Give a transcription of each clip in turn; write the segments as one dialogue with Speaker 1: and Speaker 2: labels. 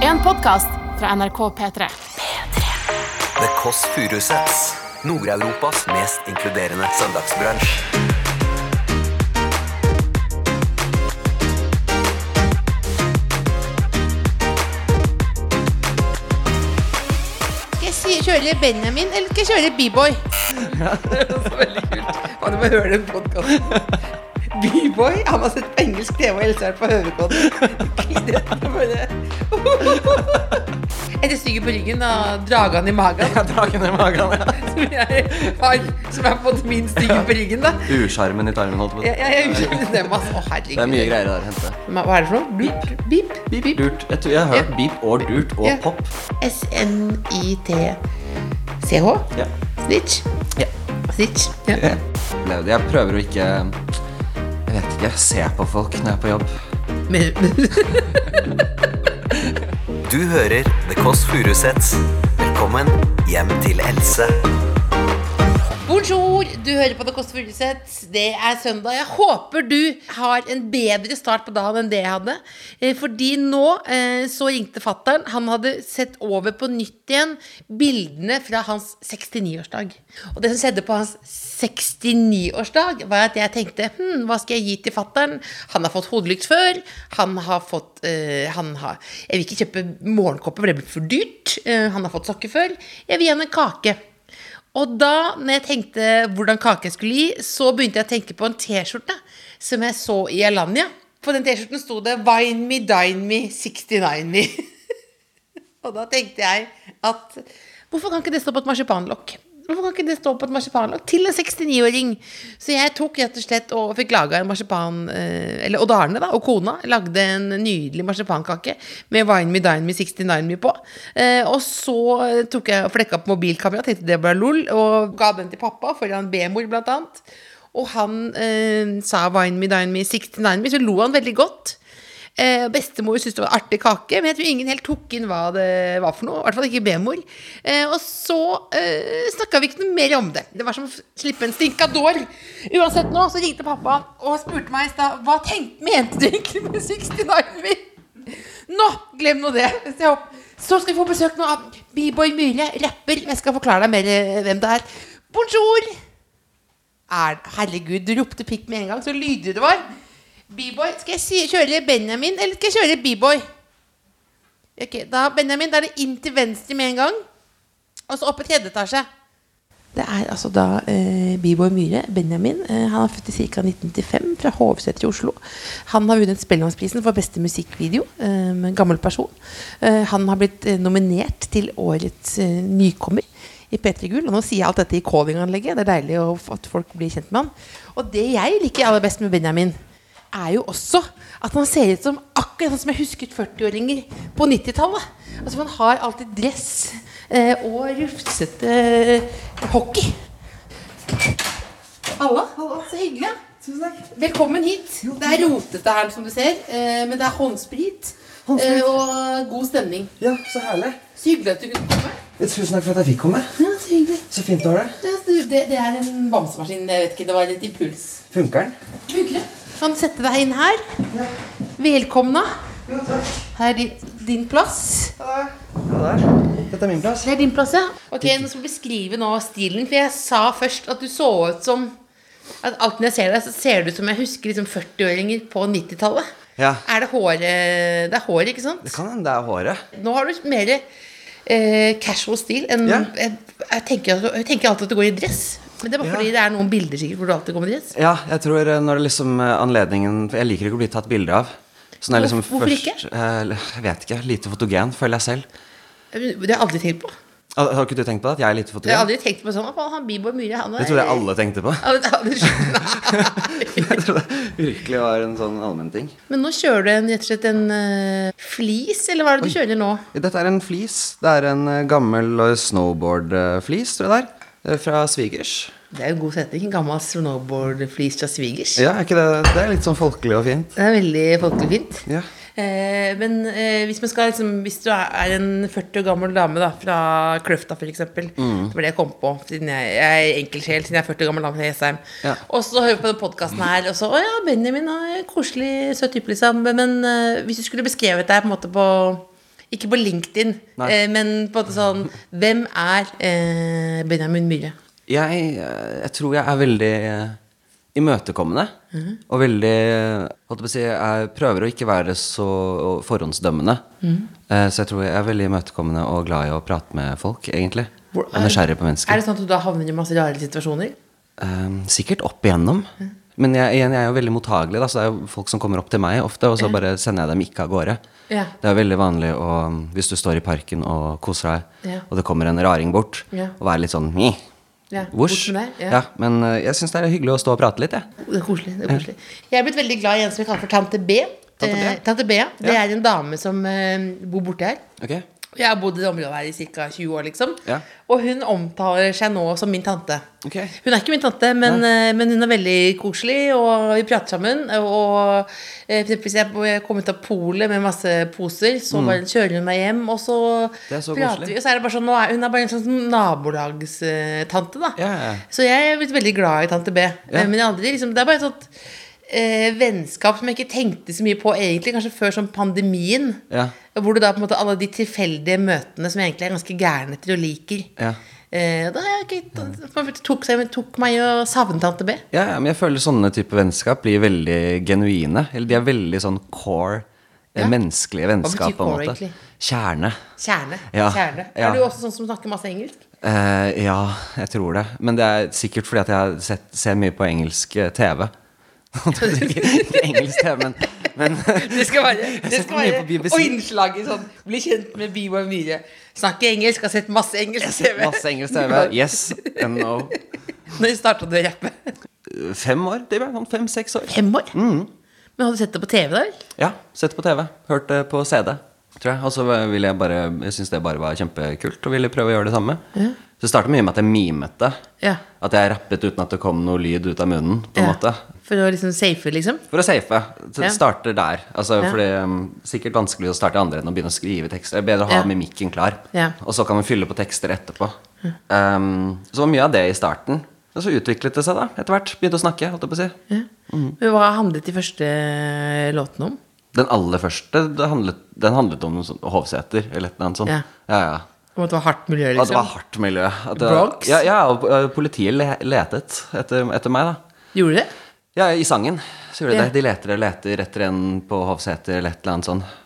Speaker 1: En podkast fra NRK P3.
Speaker 2: The Kåss Furuseths. Nord-Europas mest inkluderende søndagsbransj.
Speaker 3: Skal jeg si, kjøre Benjamin, eller skal jeg kjøre B-boy?
Speaker 4: Veldig kult. Man må høre den podkasten. B-boy? Han har sett på engelsk TV og helsevært på Høvekodden.
Speaker 3: Etter stygge på ryggen og dragen i magen.
Speaker 4: Dragen i magen. ja.
Speaker 3: Som, jeg har, som er på en måte min stygge på ryggen, da.
Speaker 4: Usjarmen i tarmen, holdt på å si.
Speaker 3: Jeg, jeg, jeg uskylder dem, altså. Å,
Speaker 4: Det er
Speaker 3: herregud.
Speaker 4: mye greier der å hente.
Speaker 3: Ma- Hva er det for noe? Beep? Beep?
Speaker 4: Beep, durt. Jeg, tror jeg har hørt beep og durt og
Speaker 3: Ja.
Speaker 4: pop.
Speaker 3: S-N-I-T-C-H?
Speaker 4: Ja.
Speaker 3: Snitch?
Speaker 4: Ja.
Speaker 3: Snitch? Ja.
Speaker 4: Opplevd. Jeg prøver å ikke Jeg vet ikke, jeg ser på folk når jeg er på jobb.
Speaker 3: Men,
Speaker 2: Du hører The Kåss Furuseths. Velkommen hjem til Else.
Speaker 3: Bonjour, du hører på Det Kåss Furuseth. Det er søndag. Jeg håper du har en bedre start på dagen enn det jeg hadde. Eh, Fordi nå eh, så ringte fattern. Han hadde sett over på nytt igjen bildene fra hans 69-årsdag. Og det som skjedde på hans 69-årsdag, var at jeg tenkte hm, hva skal jeg gi til fattern? Han har fått hodelykt før. Han har fått eh, han har, Jeg vil ikke kjøpe morgenkåpe, for det blir for dyrt. Eh, han har fått sokker før. Jeg vil gi han en kake. Og da, når jeg tenkte hvordan kake jeg skulle gi, så begynte jeg å tenke på en T-skjorte som jeg så i Alanya. På den T-skjorten sto det 'Wine me, dine me, 69 me'. og da tenkte jeg at hvorfor kan ikke det stå på et marsipanlokk? Hvorfor kan ikke det stå på et marsipanlokk til en 69-åring? Så jeg tok rett og slett og fikk laga en marsipan... eh, Eller Odd Arne da, og kona lagde en nydelig marsipankake med Wine Me Dine Me 69 Me på. Eh, Og så tok jeg og flekka opp mobilkameraet, tenkte det var lol, og ga den til pappa foran B-mor, blant annet. Og han eh, sa Wine Me Dine Me 69 Me, så lo han veldig godt. Eh, bestemor syntes det var en artig kake, men jeg tror ingen helt tok inn hva det var for noe. I hvert fall ikke bemor. Eh, og så eh, snakka vi ikke noe mer om det. Det var som å f- slippe en stinkador. Uansett nå, så ringte pappa og spurte meg i stad hva tenk, mente du egentlig med 69 min? Nå, glem nå det. Se opp. Så skal vi få besøk nå av B-boy Myhre, rapper. Jeg skal forklare deg mer eh, hvem det er. Bonjour! er, Herregud, du ropte pikk med en gang, så lydig det var. B-boy, skal jeg si, kjøre Benjamin, eller skal jeg kjøre B-boy? Ok, da Benjamin, da er det inn til venstre med en gang. Og så opp i tredje etasje. Det er altså da eh, Biboy Myhre, Benjamin. Eh, han er født i ca. 1995, fra Hovseter i Oslo. Han har vunnet Spellemannsprisen for beste musikkvideo. Eh, med en gammel person. Eh, han har blitt eh, nominert til årets eh, nykommer i P3 Gull. Og nå sier jeg alt dette i callinganlegget. Det er deilig å, at folk blir kjent med han. Og det jeg liker aller best med Benjamin, er jo også at han ser ut som akkurat sånn som jeg husket 40-åringer på 90-tallet. Altså, man har alltid dress eh, og rufsete eh, hockey. Halla. Så hyggelig. ja. Velkommen hit. Det er rotete her, som du ser, eh, men det er håndsprit eh, og god stemning.
Speaker 5: Ja, så herlig.
Speaker 3: Så hyggelig at du kunne komme.
Speaker 5: Tusen takk for at jeg fikk komme.
Speaker 3: Ja, så hyggelig.
Speaker 5: Så fint du har det.
Speaker 3: Ja, du, det, det er en bamsemaskin. Jeg vet ikke, det var litt impuls.
Speaker 5: Funker den?
Speaker 3: Hyggelig. Kan sette deg inn her. Velkomna.
Speaker 5: Jo, takk.
Speaker 3: Her er din, din plass.
Speaker 5: Ja, der. Dette er min plass.
Speaker 3: Det er din plass, ja. Ok, Nå skal du beskrive nå stilen. For jeg sa først at du så ut som at Alltid når jeg ser deg, så ser du ut som jeg husker liksom 40-åringer på 90-tallet.
Speaker 5: Ja.
Speaker 3: Er det håret Det er håret, ikke sant?
Speaker 5: Det kan hende det er håret.
Speaker 3: Nå har du mer eh, casual stil enn
Speaker 5: Ja.
Speaker 3: jeg, jeg, tenker, at du- jeg tenker alltid at du går i dress. Men det er bare
Speaker 5: Ja.
Speaker 3: fordi det er noen bilder sikkert hvor du alltid går med dress.
Speaker 5: Ja, jeg tror eh, når det liksom eh, anledningen for Jeg liker ikke å bli tatt bilde av. Så når jeg liksom
Speaker 3: Hvorfor- hvorfor ikke?
Speaker 5: først, eh, Jeg vet ikke. Lite fotogen, føler jeg selv.
Speaker 3: Det har jeg aldri tenkt på.
Speaker 5: Har, har ikke du tenkt på det? At jeg er lite
Speaker 3: Jeg har
Speaker 5: fotogen?
Speaker 3: aldri tenkt på sånn at han Bieber Myhre han er
Speaker 5: Det tror jeg alle tenkte på.
Speaker 3: Ja, men det har aldri skjønt. Nei.
Speaker 5: Jeg tror det virkelig var en sånn allmennting.
Speaker 3: Men nå kjører du en, rett og slett en eh, flis, eller hva er det du kjører nå?
Speaker 5: Dette er en flis. Det er en eh, gammel eh, snowboard-flis, tror jeg det er. eh, Fra svigers.
Speaker 3: Det er jo en god setning. En gammel snowboard-flis fra svigers.
Speaker 5: Ja, er ikke det Det er litt sånn folkelig og fint.
Speaker 3: Det er veldig folkelig fint.
Speaker 5: Ja.
Speaker 3: Eh, men eh, hvis, man skal, liksom, hvis du er er en 40 år gammel dame da, fra Kløfta f.eks. Mm. Det var det jeg kom på. Siden jeg, jeg er enkeltsjel siden jeg er 40 år gammel dame fra Jessheim.
Speaker 5: Ja.
Speaker 3: Og så hører vi på den podkasten her, og så Å ja, Benjamin er en koselig, søt type, liksom. Men eh, hvis du skulle beskrevet deg på en måte på Ikke på LinkedIn,
Speaker 5: Nei.
Speaker 3: eh, men på en måte sånn Hvem er eh, Benjamin Myhre?
Speaker 5: Jeg, eh, jeg tror jeg er veldig eh, imøtekommende. Og veldig eh, holdt jeg, på å si, jeg prøver å ikke være så forhåndsdømmende. Eh, Så jeg tror jeg er veldig imøtekommende og glad i å prate med folk, egentlig.
Speaker 3: Hvor-
Speaker 5: Og nysgjerrig på mennesker.
Speaker 3: Er det sånn at du da havner i masse rare situasjoner?
Speaker 5: Eh, sikkert opp igjennom. Men jeg, igjen, jeg er jo veldig mottagelig, da, så det er jo folk som kommer opp til meg ofte, og så bare sender jeg dem ikke av gårde.
Speaker 3: Ja.
Speaker 5: Det er jo veldig vanlig å, hvis du står i parken og koser deg,
Speaker 3: Ja.
Speaker 5: og det kommer en raring bort,
Speaker 3: Ja.
Speaker 5: og være litt sånn «Mih».
Speaker 3: Ja,
Speaker 5: Vosj.
Speaker 3: bort med deg, ja.
Speaker 5: Ja, men eh, jeg syns det er hyggelig å stå og prate litt, jeg.
Speaker 3: Det er koselig. det er koselig Jeg er blitt veldig glad i en som vi kaller for Tante B.
Speaker 5: Tante B?
Speaker 3: Eh, Tante B, ja. Det
Speaker 5: Ja.
Speaker 3: er en dame som eh, bor borti her.
Speaker 5: Ok?
Speaker 3: Jeg har bodd i det området her i ca. 20 år, liksom.
Speaker 5: Ja.
Speaker 3: Og hun omtaler seg nå som min tante.
Speaker 5: Ok.
Speaker 3: Hun er ikke min tante, men, eh, men hun er veldig koselig, og vi prater sammen. Og eh, for eksempel hvis jeg- jeg kom ut av polet med masse poser, så bare kjører hun meg hjem, og så
Speaker 5: Mm. Det er så
Speaker 3: prater
Speaker 5: koselig.
Speaker 3: vi. Og så er det bare sånn, nå er, hun er bare en sånn nabolagstante, da.
Speaker 5: Ja, ja, ja.
Speaker 3: Så jeg er blitt veldig glad i tante B. Eh, Men jeg har aldri, liksom, det er bare et sånt eh, vennskap som jeg ikke tenkte så mye på egentlig, kanskje før som pandemien.
Speaker 5: Ja.
Speaker 3: Hvor du da på en måte alle de tilfeldige møtene som jeg egentlig er ganske gæren etter og liker.
Speaker 5: Ja.
Speaker 3: Eh, da har jeg ikke, da, på en måte tok, seg, tok meg og savnet tante B.
Speaker 5: Ja, ja, men jeg føler sånne type vennskap blir veldig genuine. Eller de er veldig sånn core, eh,
Speaker 3: Ja.
Speaker 5: menneskelige vennskap,
Speaker 3: betyr
Speaker 5: på en
Speaker 3: core,
Speaker 5: måte.
Speaker 3: egentlig?
Speaker 5: Kjerne.
Speaker 3: Kjerne.
Speaker 5: Ja,
Speaker 3: Kjerne.
Speaker 5: ja.
Speaker 3: Er du også sånn som snakker masse engelsk?
Speaker 5: Eh, ja, jeg tror det. Men det er sikkert fordi at jeg har sett, ser mye på engelsk eh, TV. ikke, ikke engelsk TV, men, men
Speaker 3: Det skal være, det
Speaker 5: ser
Speaker 3: skal
Speaker 5: mye
Speaker 3: være
Speaker 5: på BBC.
Speaker 3: Og innslag i sånn Bli kjent med Biwa Myhre. Snakke engelsk, har sett masse engelsk TV.
Speaker 5: masse engelsk TV. Yes and no.
Speaker 3: Når starta du å rappe?
Speaker 5: Fem år, det ble sånn fem-seks år.
Speaker 3: Fem år? Mm. Men hadde du sett det på TV, da? eller?
Speaker 5: Ja, sett på TV. Hørt det på CD, tror jeg. Og så ville jeg bare Jeg syntes det bare var kjempekult og ville prøve å gjøre det samme. Så det startet mye med at jeg mimet det.
Speaker 3: Ja.
Speaker 5: At jeg rappet uten at det kom noe lyd ut av munnen. på en
Speaker 3: Ja.
Speaker 5: måte
Speaker 3: For å liksom safe, liksom?
Speaker 5: For å safe. Så
Speaker 3: Ja.
Speaker 5: Starter der. Altså,
Speaker 3: Ja.
Speaker 5: For det er um, sikkert vanskelig å starte i andre enn å begynne å skrive tekster. Det er bedre å ha
Speaker 3: Ja.
Speaker 5: mimikken klar,
Speaker 3: Ja. Mm.
Speaker 5: og så kan man fylle på tekster etterpå. Um, så det var mye av det i starten. Og så utviklet det seg da, etter hvert. Begynte å snakke. holdt jeg på å si.
Speaker 3: Ja.
Speaker 5: Mm.
Speaker 3: Men Hva handlet de første låtene om?
Speaker 5: Den aller første det handlet, den handlet om noe sånt, Hovseter eller et eller annet sånt.
Speaker 3: Ja.
Speaker 5: Ja, ja.
Speaker 3: Om at det var hardt miljø, liksom?
Speaker 5: At det var hardt miljø. At det,
Speaker 3: Bronx?
Speaker 5: Ja, ja, og eh, politiet le letet etter, etter meg, da.
Speaker 3: Gjorde de det?
Speaker 5: Ja, i sangen så gjorde de
Speaker 3: Ja.
Speaker 5: det. De leter og leter etter en på Hovseter eller et eller annet sånt.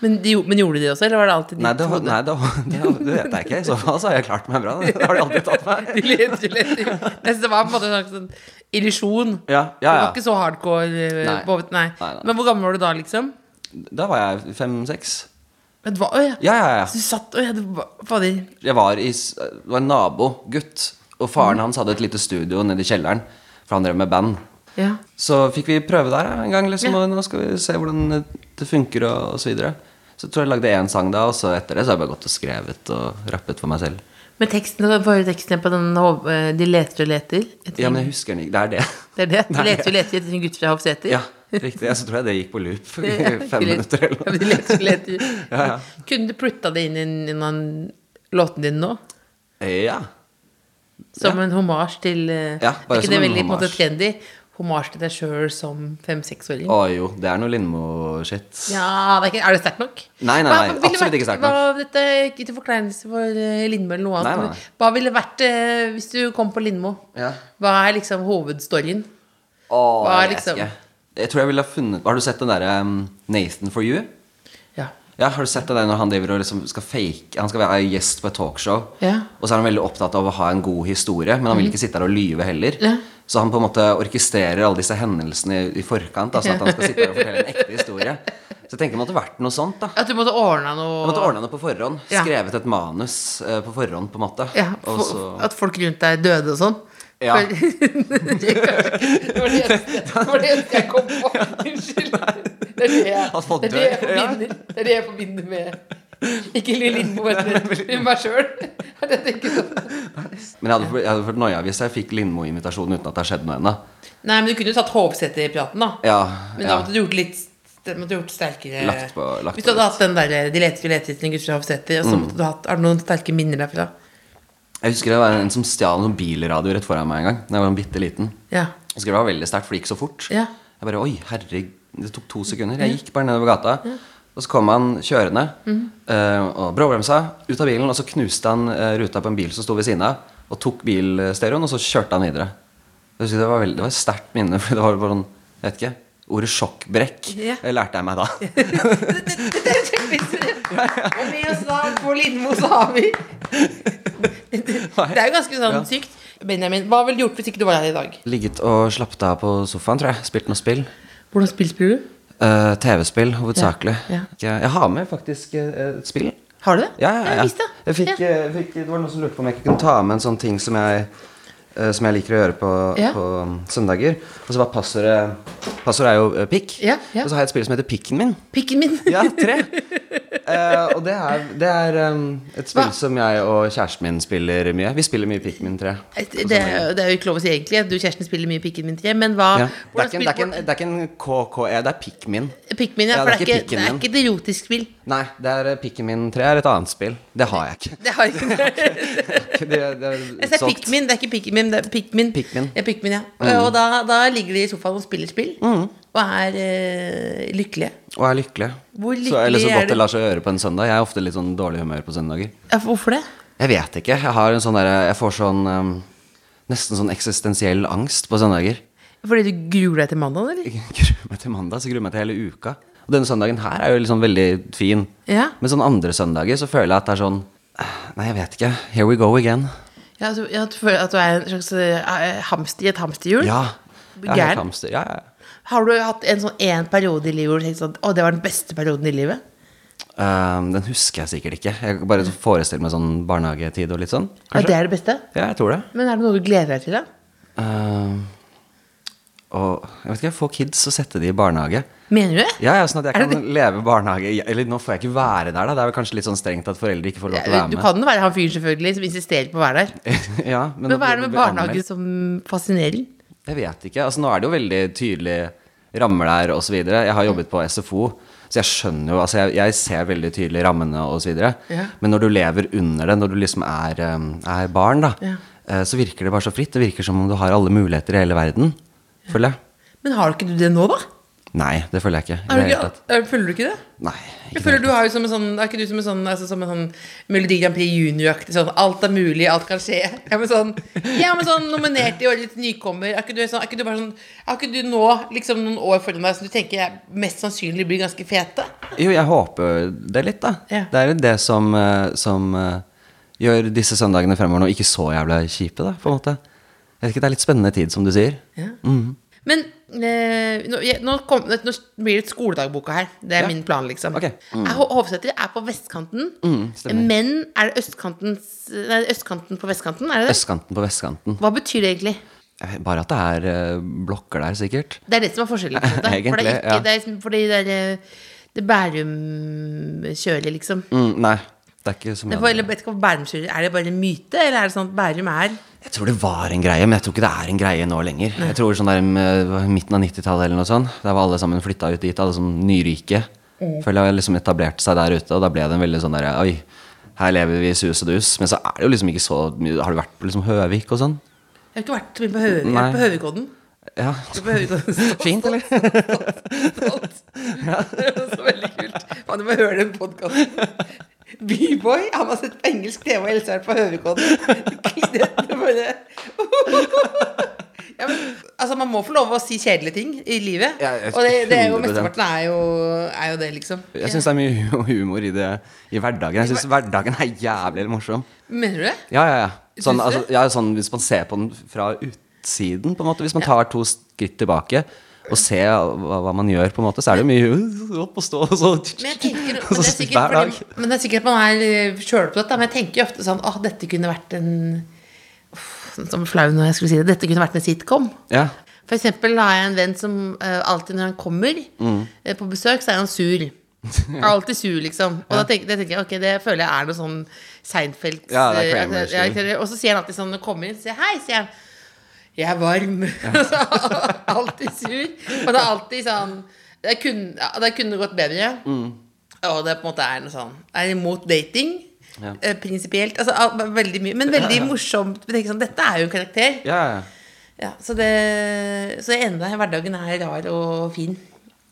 Speaker 3: Men, de, men gjorde de det også, eller var det alltid de
Speaker 5: Nei, det,
Speaker 3: trodde?
Speaker 5: nei det, det, det vet jeg ikke. I så fall så har jeg klart meg bra. Det har de aldri tatt meg.
Speaker 3: De lette, de lette. Jeg synes det var på en måte en slags sånn illusjon.
Speaker 5: Ja,
Speaker 3: Det
Speaker 5: ja,
Speaker 3: var
Speaker 5: ja.
Speaker 3: ikke så hardcore. eh,
Speaker 5: Nei.
Speaker 3: På, nei.
Speaker 5: Nei, nei.
Speaker 3: Men hvor gammel var du da, liksom?
Speaker 5: Da var jeg fem-seks.
Speaker 3: Men det var, å, ja.
Speaker 5: Ja, ja, ja.
Speaker 3: Så du satt å, ja, det var, fader.
Speaker 5: Jeg var, i, s- det var en nabogutt, og
Speaker 3: Mm.
Speaker 5: faren hans hadde et lite studio nede i kjelleren, for han drev med band.
Speaker 3: Ja.
Speaker 5: Så fikk vi prøve der ja, en gang, liksom,
Speaker 3: Ja.
Speaker 5: og nå skal vi se hvordan det funker, og, og så videre. Så tror jeg jeg lagde én sang da, og så etter det så har jeg bare gått og skrevet og rappet for meg selv.
Speaker 3: Men teksten, hva var jo teksten på den hov- eh, De leter og leter etter
Speaker 5: Ja, men jeg husker den ikke. Det er det.
Speaker 3: Det er det? De leter og leter etter en gutt fra Hofsæter?
Speaker 5: Ja, riktig. Jeg så tror jeg det gikk på loop i
Speaker 3: Ja,
Speaker 5: fem
Speaker 3: ikke
Speaker 5: minutter eller
Speaker 3: Ja,
Speaker 5: noe.
Speaker 3: men de leter og leter.
Speaker 5: Ja, ja.
Speaker 3: Kunne du plutta det inn i en- i noen- låten din nå?
Speaker 5: Ja.
Speaker 3: Som
Speaker 5: Ja.
Speaker 3: en hommage til eh,
Speaker 5: Ja, bare
Speaker 3: Er ikke
Speaker 5: som
Speaker 3: det
Speaker 5: en
Speaker 3: veldig på en måte
Speaker 5: hommage.
Speaker 3: trendy? Hommage til deg sjøl som fem-seksåring?
Speaker 5: Å jo, det er noe Lindmo-shit.
Speaker 3: Ja, det er, ikke, er det sterkt nok?
Speaker 5: Nei, nei,
Speaker 3: Hva-
Speaker 5: nei,
Speaker 3: hva ville
Speaker 5: absolutt
Speaker 3: vært-
Speaker 5: ikke sterkt
Speaker 3: hva- Dette er ikke til forkleinelse for eh, Lindmo eller noe annet.
Speaker 5: Nei, nei,
Speaker 3: men
Speaker 5: nei.
Speaker 3: Hva ville vært eh, hvis du kom på Lindmo?
Speaker 5: Ja.
Speaker 3: Hva er liksom hovedstoryen?
Speaker 5: Å,
Speaker 3: Hva
Speaker 5: jeg
Speaker 3: er
Speaker 5: vet
Speaker 3: liksom-
Speaker 5: ikke. Jeg tror jeg ville ha funnet Har du sett den derre um, Nathan for you?
Speaker 3: Ja.
Speaker 5: Ja, har du sett det der når han driver og liksom skal fake Han skal være gjest på et talkshow,
Speaker 3: Ja. Mhm.
Speaker 5: og så er han veldig opptatt av å ha en god historie, men han vil ikke sitte der og lyve heller.
Speaker 3: Ja.
Speaker 5: Så han på en måte orkestrerer alle disse hendelsene i, i forkant, da, sånn at han skal sitte der og fortelle en ekte historie. Så jeg tenker det måtte vært noe sånt, da.
Speaker 3: At du måtte ordna noe
Speaker 5: Jeg måtte ordna det på forhånd.
Speaker 3: Ja.
Speaker 5: Skrevet et manus eh, på forhånd, på en måte.
Speaker 3: ja,
Speaker 5: Og
Speaker 3: for,
Speaker 5: så-
Speaker 3: At folk rundt deg døde og sånn?
Speaker 5: Ja.
Speaker 3: For- det var det eneste- det var det eneste jeg kom på. Unnskyld. Det er det jeg,
Speaker 5: At folk
Speaker 3: det, er det jeg
Speaker 5: dør, ja.
Speaker 3: forbinder, det er det jeg forbinder med Ikke Lille Lindmo, men meg sjøl. Jeg tenker sånn
Speaker 5: Men jeg hadde, jeg hadde fått noia hvis jeg fikk Lindmo-invitasjon uten at det har skjedd noe ennå.
Speaker 3: Nei, men du kunne jo tatt Hovsete i praten, da.
Speaker 5: Ja,
Speaker 3: Men da
Speaker 5: ja.
Speaker 3: måtte du gjort litt det måtte du gjort sterkere
Speaker 5: Lagt på- lagt
Speaker 3: Hvis du
Speaker 5: på Mm.
Speaker 3: hadde hatt den der De leter og leter etter en gutt fra Hovseter, og så måtte du hatt Har du noen sterke minner derfra?
Speaker 5: Jeg husker det var en som stjal en bilradio rett foran meg en gang. Da jeg var bitte liten.
Speaker 3: Ja.
Speaker 5: Jeg husker det var veldig sterkt, for det gikk så fort.
Speaker 3: Ja.
Speaker 5: Jeg bare, oi, herregud, Det tok to sekunder. Jeg gikk bare nedover gata. Og så kom han kjørende
Speaker 3: Mhm.
Speaker 5: eh, og bråbremsa ut av bilen, og så knuste han eh, ruta på en bil som sto ved siden av, og tok bilstereoen, og så kjørte han videre. Jeg husker Det var, veldig, det var et sterkt minne, for det var bare sånn, jeg vet ikke, ordet sjokkbrekk
Speaker 3: Ja.
Speaker 5: eh, lærte jeg meg da.
Speaker 3: Og med oss da på Lindmo så har vi Det er jo ganske sånn
Speaker 5: Ja.
Speaker 3: sykt. Benjamin, hva ville du gjort hvis ikke du var her i dag?
Speaker 5: Ligget og slappet av på sofaen, tror jeg. Spilt noe spill.
Speaker 3: Hvordan spill spiller du?
Speaker 5: Eh, TV-spill, hovedsakelig.
Speaker 3: Ja,
Speaker 5: Jeg, jeg har med faktisk eh, et spill.
Speaker 3: Har du det?
Speaker 5: Ja, ja, ja.
Speaker 3: Jeg visste det.
Speaker 5: Jeg fikk,
Speaker 3: Ja.
Speaker 5: eh, fikk, det var noen som lurte på om jeg ikke kunne ta med en sånn ting som jeg, eh, som jeg liker å gjøre på,
Speaker 3: Ja.
Speaker 5: på um, søndager. Og så var passordet Passordet er jo eh, pikk.
Speaker 3: Ja, ja.
Speaker 5: Og så har jeg et spill som heter Pikken min.
Speaker 3: Pikken min.
Speaker 5: Ja, tre. Eh, og det er, det er um, et spill
Speaker 3: Hva?
Speaker 5: som jeg og kjæresten min spiller mye. Vi spiller mye Pikmin 3.
Speaker 3: Det, det er jo ikke lov å si egentlig. at Du Kjersten spiller mye Pikken min 3, men hva
Speaker 5: Ja. Det, er
Speaker 3: hvordan
Speaker 5: ikke, en- det, er ikke, en-
Speaker 3: spiller-
Speaker 5: det er ikke en KKE, det er Pikmin.
Speaker 3: Pikmin, ja,
Speaker 5: Ja, det er ikke
Speaker 3: for det er ikke, det er
Speaker 5: Pikken
Speaker 3: ikke et erotisk spill.
Speaker 5: Nei, det er eh, Pikmin 3 er et annet spill. Det har jeg ikke.
Speaker 3: Det har ikke
Speaker 5: Det, det er
Speaker 3: Jeg sier
Speaker 5: utsolgt.
Speaker 3: Pikmin, det er ikke Pikmin, det er Pikmin.
Speaker 5: Pikmin.
Speaker 3: Ja, Pikmin, ja.
Speaker 5: Mm.
Speaker 3: Og da, da ligger de i sofaen og spiller spill, og er eh, lykkelige.
Speaker 5: Og er lykkelig.
Speaker 3: Hvor lykkelig
Speaker 5: så, eller så
Speaker 3: er
Speaker 5: godt
Speaker 3: du?
Speaker 5: det lar seg gjøre på en søndag. Jeg er ofte litt sånn dårlig humør på søndager.
Speaker 3: Ja, for hvorfor det?
Speaker 5: Jeg vet ikke. Jeg har en sånn derre Jeg får sånn ehm, Nesten sånn eksistensiell angst på søndager.
Speaker 3: Fordi du gruer deg til mandagen, eller?
Speaker 5: Jeg gruer meg til mandag, så gruer jeg meg til hele uka. Og denne søndagen her er jo liksom veldig fin.
Speaker 3: Ja.
Speaker 5: Men sånn andre søndager så føler jeg at det er sånn eh, Nei, jeg vet ikke. Here we go again.
Speaker 3: Ja, altså, ja, du føler at du er en slags eh, hamster i et hamsterhjul?
Speaker 5: Ja. Jeg er
Speaker 3: Gæren.
Speaker 5: helt hamster. Ja, ja.
Speaker 3: Har du hatt en sånn en periode i livet hvor du tenkte sånn Å, det var den beste perioden i livet?
Speaker 5: Ehm, den husker jeg sikkert ikke. Jeg bare så forestiller meg sånn barnehagetid og litt sånn.
Speaker 3: Ja, det
Speaker 5: Kanskje.
Speaker 3: er det beste.
Speaker 5: Ja, jeg tror det.
Speaker 3: Men er det noe du gleder deg til, da?
Speaker 5: Ehm, og jeg vet ikke, få kids og sette de i barnehage.
Speaker 3: Mener du det?
Speaker 5: Ja, ja, sånn at jeg
Speaker 3: Er det
Speaker 5: kan leve barnehage Ja, Eller nå får jeg ikke være der, da. Det er vel kanskje litt sånn strengt at foreldre ikke får lov til å være
Speaker 3: Du
Speaker 5: med.
Speaker 3: kan jo være han fyren selvfølgelig som insisterer på å være der.
Speaker 5: ja,
Speaker 3: Men hva
Speaker 5: at
Speaker 3: er det med
Speaker 5: blir
Speaker 3: barnehage
Speaker 5: anmeldt.
Speaker 3: som fascinerer?
Speaker 5: Jeg vet ikke. Altså, nå er det jo veldig tydelige rammer der og så videre Jeg har jobbet på SFO, så jeg skjønner jo Altså, jeg, jeg ser veldig tydelig rammene og så videre
Speaker 3: Ja.
Speaker 5: Men når du lever under det, når du liksom er, eh, er barn, da,
Speaker 3: Ja.
Speaker 5: eh, så virker det bare så fritt. Det virker som om du har alle muligheter i hele verden, føler jeg.
Speaker 3: Men har ikke du det nå, da?
Speaker 5: Nei, det føler jeg ikke. i
Speaker 3: Har
Speaker 5: det
Speaker 3: du
Speaker 5: hele
Speaker 3: ikke,
Speaker 5: tatt.
Speaker 3: er, føler du ikke det?
Speaker 5: Nei.
Speaker 3: Jeg
Speaker 5: Ikke
Speaker 3: føler du har jo som en sånn Er ikke du som en sånn, altså, som en sånn Melodi Grand Prix junior-aktig sånn Alt er mulig, alt kan skje. Ja, men sånn, ja, men sånn nominert i årets nykommer. Er ikke, du sånn, er ikke du bare sånn Er ikke du nå, liksom noen år foran deg, som du tenker jeg mest sannsynlig blir ganske fete?
Speaker 5: Jo, jeg håper det litt, da.
Speaker 3: Ja.
Speaker 5: Det er jo det som, eh, som eh, gjør disse søndagene fremover nå ikke så jævla kjipe, da, på en måte. Jeg vet ikke, Det er litt spennende tid, som du sier.
Speaker 3: Ja. Men eh, nå, jeg, nå, kom, nå blir det skoledagboka her. Det er
Speaker 5: Ja.
Speaker 3: min plan, liksom.
Speaker 5: Ok. Mm.
Speaker 3: Jeg- Ho- Hovseter er på vestkanten,
Speaker 5: stemmer.
Speaker 3: men er det østkanten, nei, østkanten på vestkanten? Er det det?
Speaker 5: Østkanten på vestkanten.
Speaker 3: Hva betyr det egentlig?
Speaker 5: Jeg vet Bare at det er eh, blokker der, sikkert.
Speaker 3: Det er det som er forskjellen. på en måte. For det er
Speaker 5: Egentlig,
Speaker 3: ikke,
Speaker 5: ja.
Speaker 3: det er liksom, fordi det er eh, det Bærum-kjøret, liksom.
Speaker 5: Mm, nei, det er ikke så
Speaker 3: Det
Speaker 5: mye.
Speaker 3: er,
Speaker 5: av
Speaker 3: for, eller,
Speaker 5: det.
Speaker 3: vet ikke om Bærum-kjøret- er det bare en myte, eller er det sånn at Bærum er
Speaker 5: Jeg tror det var en greie, men jeg tror ikke det er en greie nå lenger. Jeg tror sånn der eh, midten av 90-tallet eller noe sånt, der var alle sammen flytta ut dit, alle som nyrike. Føler jeg har liksom etablert seg der ute, og da ble det en veldig sånn derre Oi, her lever vi i sus og dus. Men så er det jo liksom ikke så mye Har du vært på liksom Høvik og sånn?
Speaker 3: Jeg har ikke vært så mye på Høvik. Jeg har
Speaker 5: Nei.
Speaker 3: vært på Høvikodden.
Speaker 5: Ja.
Speaker 3: Jeg har vært på Høvikodden.
Speaker 5: Fint, eller?
Speaker 4: Stolt. Det er også veldig kult. Faen, du må høre den podkasten. B-boy, han har sett på engelsk TV og elsket på Høvikodden. Klinet bare
Speaker 3: Ja, men, altså, man må få lov å si kjedelige ting i livet.
Speaker 5: Ja, jeg-
Speaker 3: og det, det er jo
Speaker 5: 100%.
Speaker 3: mesteparten er jo, er jo det, liksom.
Speaker 5: Jeg syns det er mye hu- humor i, det, i hverdagen. Jeg syns hverdagen er jævlig morsom.
Speaker 3: Mener du det?
Speaker 5: Ja, ja, ja. Sånn,
Speaker 3: Syns du?
Speaker 5: altså, ja. sånn hvis man ser på den fra utsiden, på en måte. Hvis man tar to skritt tilbake og ser hva, hva man gjør, på en måte, så er det jo mye opp og stå og så
Speaker 3: Men, jeg tenker,
Speaker 5: og
Speaker 3: men, det er
Speaker 5: så
Speaker 3: sikkert,
Speaker 5: hver dag.
Speaker 3: fordi, men det er sikkert at man er sjølopptatt, da, men jeg tenker jo ofte sånn Åh, dette kunne vært en Uff, sånn som flau når jeg skulle si det. Dette kunne vært en sitcom.
Speaker 5: Ja.
Speaker 3: For eksempel har jeg en venn som eh, alltid når han kommer
Speaker 5: Mm.
Speaker 3: eh, på besøk, så er han sur. Er Alltid sur, liksom. Og da tenker, det tenker jeg, ok, det føler jeg er noe sånn Seinfeld
Speaker 5: Ja, det er
Speaker 3: eh,
Speaker 5: Kramer-stil.
Speaker 3: ja, ikke sant? Og så sier han alltid sånn når han kommer inn, så sier jeg, hei, sier han. Jeg er varm. alltid sur. Og det er alltid sånn Det kunne, ja, det kunne gått bedre.
Speaker 5: Mm.
Speaker 3: Og det på en måte er noe sånn Er imot dating.
Speaker 5: Ja.
Speaker 3: eh, Prinsipielt. Altså, al- veldig mye, men veldig morsomt. Men tenker sånn, dette er jo en karakter.
Speaker 5: Ja, ja.
Speaker 3: Ja, så det Så jeg er enig med deg. Hverdagen er rar og fin.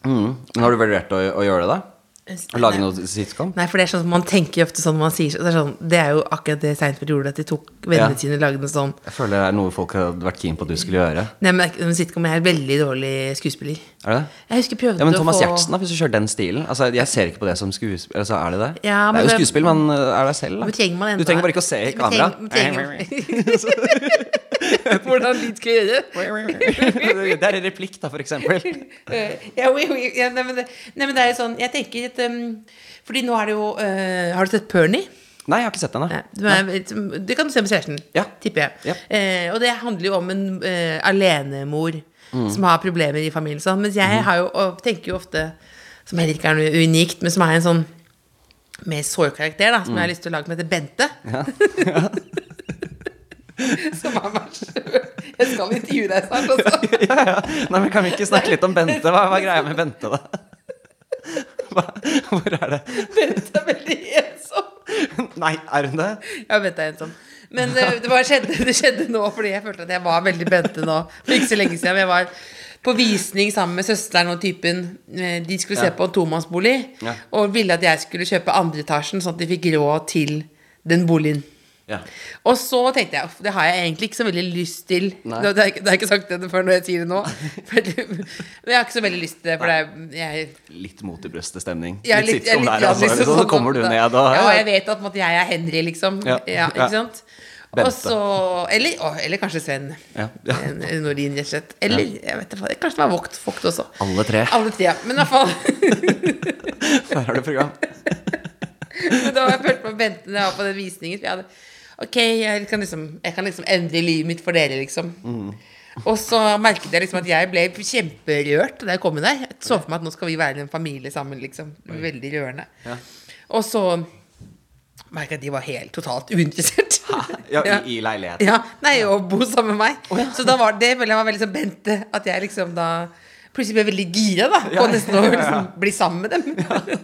Speaker 5: Mm. Men har du vurdert å, å gjøre det, da? Å lage noe sitcom?
Speaker 3: Nei, for det er sånn man tenker ofte sånn når man sier så- det er sånn. Det er jo akkurat det Seinfeld gjorde, at de tok vennene
Speaker 5: Ja.
Speaker 3: sine og lagde noe sånn.
Speaker 5: Jeg føler det er noe folk hadde vært keen på at du skulle gjøre.
Speaker 3: Nei, men det er ikke- sitcom jeg er veldig dårlig skuespiller.
Speaker 5: Er det det?
Speaker 3: Jeg husker jeg prøvde
Speaker 5: Ja, men
Speaker 3: å
Speaker 5: Thomas
Speaker 3: få
Speaker 5: Gjertsen, da, hvis du kjører den stilen Altså, Jeg ser ikke på det som skuespill. Altså, er det det?
Speaker 3: Ja,
Speaker 5: det
Speaker 3: men
Speaker 5: er jo
Speaker 3: det-
Speaker 5: skuespill, men uh, er deg selv, da.
Speaker 3: Men trenger man enda
Speaker 5: du trenger bare ikke å se i
Speaker 3: Men
Speaker 5: kamera.
Speaker 3: trenger- Hvordan lyd skal gjøre?
Speaker 5: det er en replikk, da, for eksempel.
Speaker 4: Eh, ja, oi, oi, ja, nei, men det, nei, men det er jo sånn Jeg tenker at um, Fordi nå er det jo eh,
Speaker 3: øh, Har du sett Pernie?
Speaker 5: Nei, jeg har ikke sett den,
Speaker 3: Nei,
Speaker 5: da.
Speaker 3: du er- Det kan du se med kjæresten,
Speaker 5: Ja.
Speaker 3: tipper jeg.
Speaker 5: Ja.
Speaker 3: Eh, og det handler jo om en eh, alenemor
Speaker 5: Mm.
Speaker 3: som har problemer i familien. Sånn. Mens
Speaker 5: Mhm.
Speaker 3: jeg har jo, og tenker jo ofte, som heller ikke er noe unikt, men som er en sånn mer sårkarakter, da, som
Speaker 5: Mm.
Speaker 3: jeg har lyst til å lage, som heter Bente.
Speaker 4: som er meg selv. Jeg skal intervjue deg snart
Speaker 3: altså.
Speaker 4: også.
Speaker 5: Ja, ja. Nei, men Kan vi ikke snakke litt om Bente? Hva, hva er greia med Bente, da? Hva, hvor er det
Speaker 4: Bente er veldig ensom.
Speaker 5: Nei, er hun det?
Speaker 3: Ja, Bente er ensom. Men eh, det, var, skjedde, det skjedde nå, fordi jeg følte at jeg var veldig Bente nå. For ikke så lenge siden. men Jeg var på visning sammen med søsteren og typen. Eh, De skulle se
Speaker 5: Ja.
Speaker 3: på en tomannsbolig,
Speaker 5: Ja.
Speaker 3: og ville at jeg skulle kjøpe andre etasjen, sånn at de fikk råd til den boligen.
Speaker 5: Ja.
Speaker 3: Og så tenkte jeg, "Uff, det har jeg egentlig ikke så veldig lyst til.
Speaker 5: Nei.
Speaker 3: Det, det, har jeg ikke- det har jeg ikke sagt det før når jeg sier det nå. For det- Men jeg har ikke så veldig lyst til det, for det er jeg
Speaker 5: Litt mot i brøstet-stemning.
Speaker 3: jeg er litt, jeg er
Speaker 5: sitcom
Speaker 3: litt
Speaker 5: der,
Speaker 3: glad,
Speaker 5: altså.
Speaker 3: liksom,
Speaker 5: Så,
Speaker 3: sånn at-
Speaker 5: kommer du ned og
Speaker 3: Ja, og jeg vet at på en måte, jeg er Henry, liksom. Ja,
Speaker 5: Ja.
Speaker 3: ikke
Speaker 5: Ja.
Speaker 3: sant?
Speaker 5: Bente.
Speaker 3: Og så eller, å, eller kanskje Sven.
Speaker 5: Ja, ja.
Speaker 3: En- en Nordin, rett og slett. Eller jeg vet ikke, kanskje det var Vogt, Vogt også.
Speaker 5: Alle tre.
Speaker 3: Alle tre, ja. Men i hvert fall
Speaker 5: Der har du program.
Speaker 3: Men da har jeg følt meg Bente når jeg var på den visningen. For jeg hadde Ok, jeg kan liksom, jeg kan liksom endre livet mitt for dere, liksom. Og så merket jeg liksom at jeg ble kjemperørt da jeg kom inn der. Jeg så for meg at nå skal vi være en familie sammen, liksom. Veldig rørende. Og så merket jeg at de var helt totalt uinteressert.
Speaker 5: Ja, i, I leilighet.
Speaker 3: Ja, nei, og bo sammen med meg. Så da var det føler jeg var veldig sånn Bente, at jeg liksom da plutselig ble veldig gira, da. På nesten å liksom bli sammen med dem.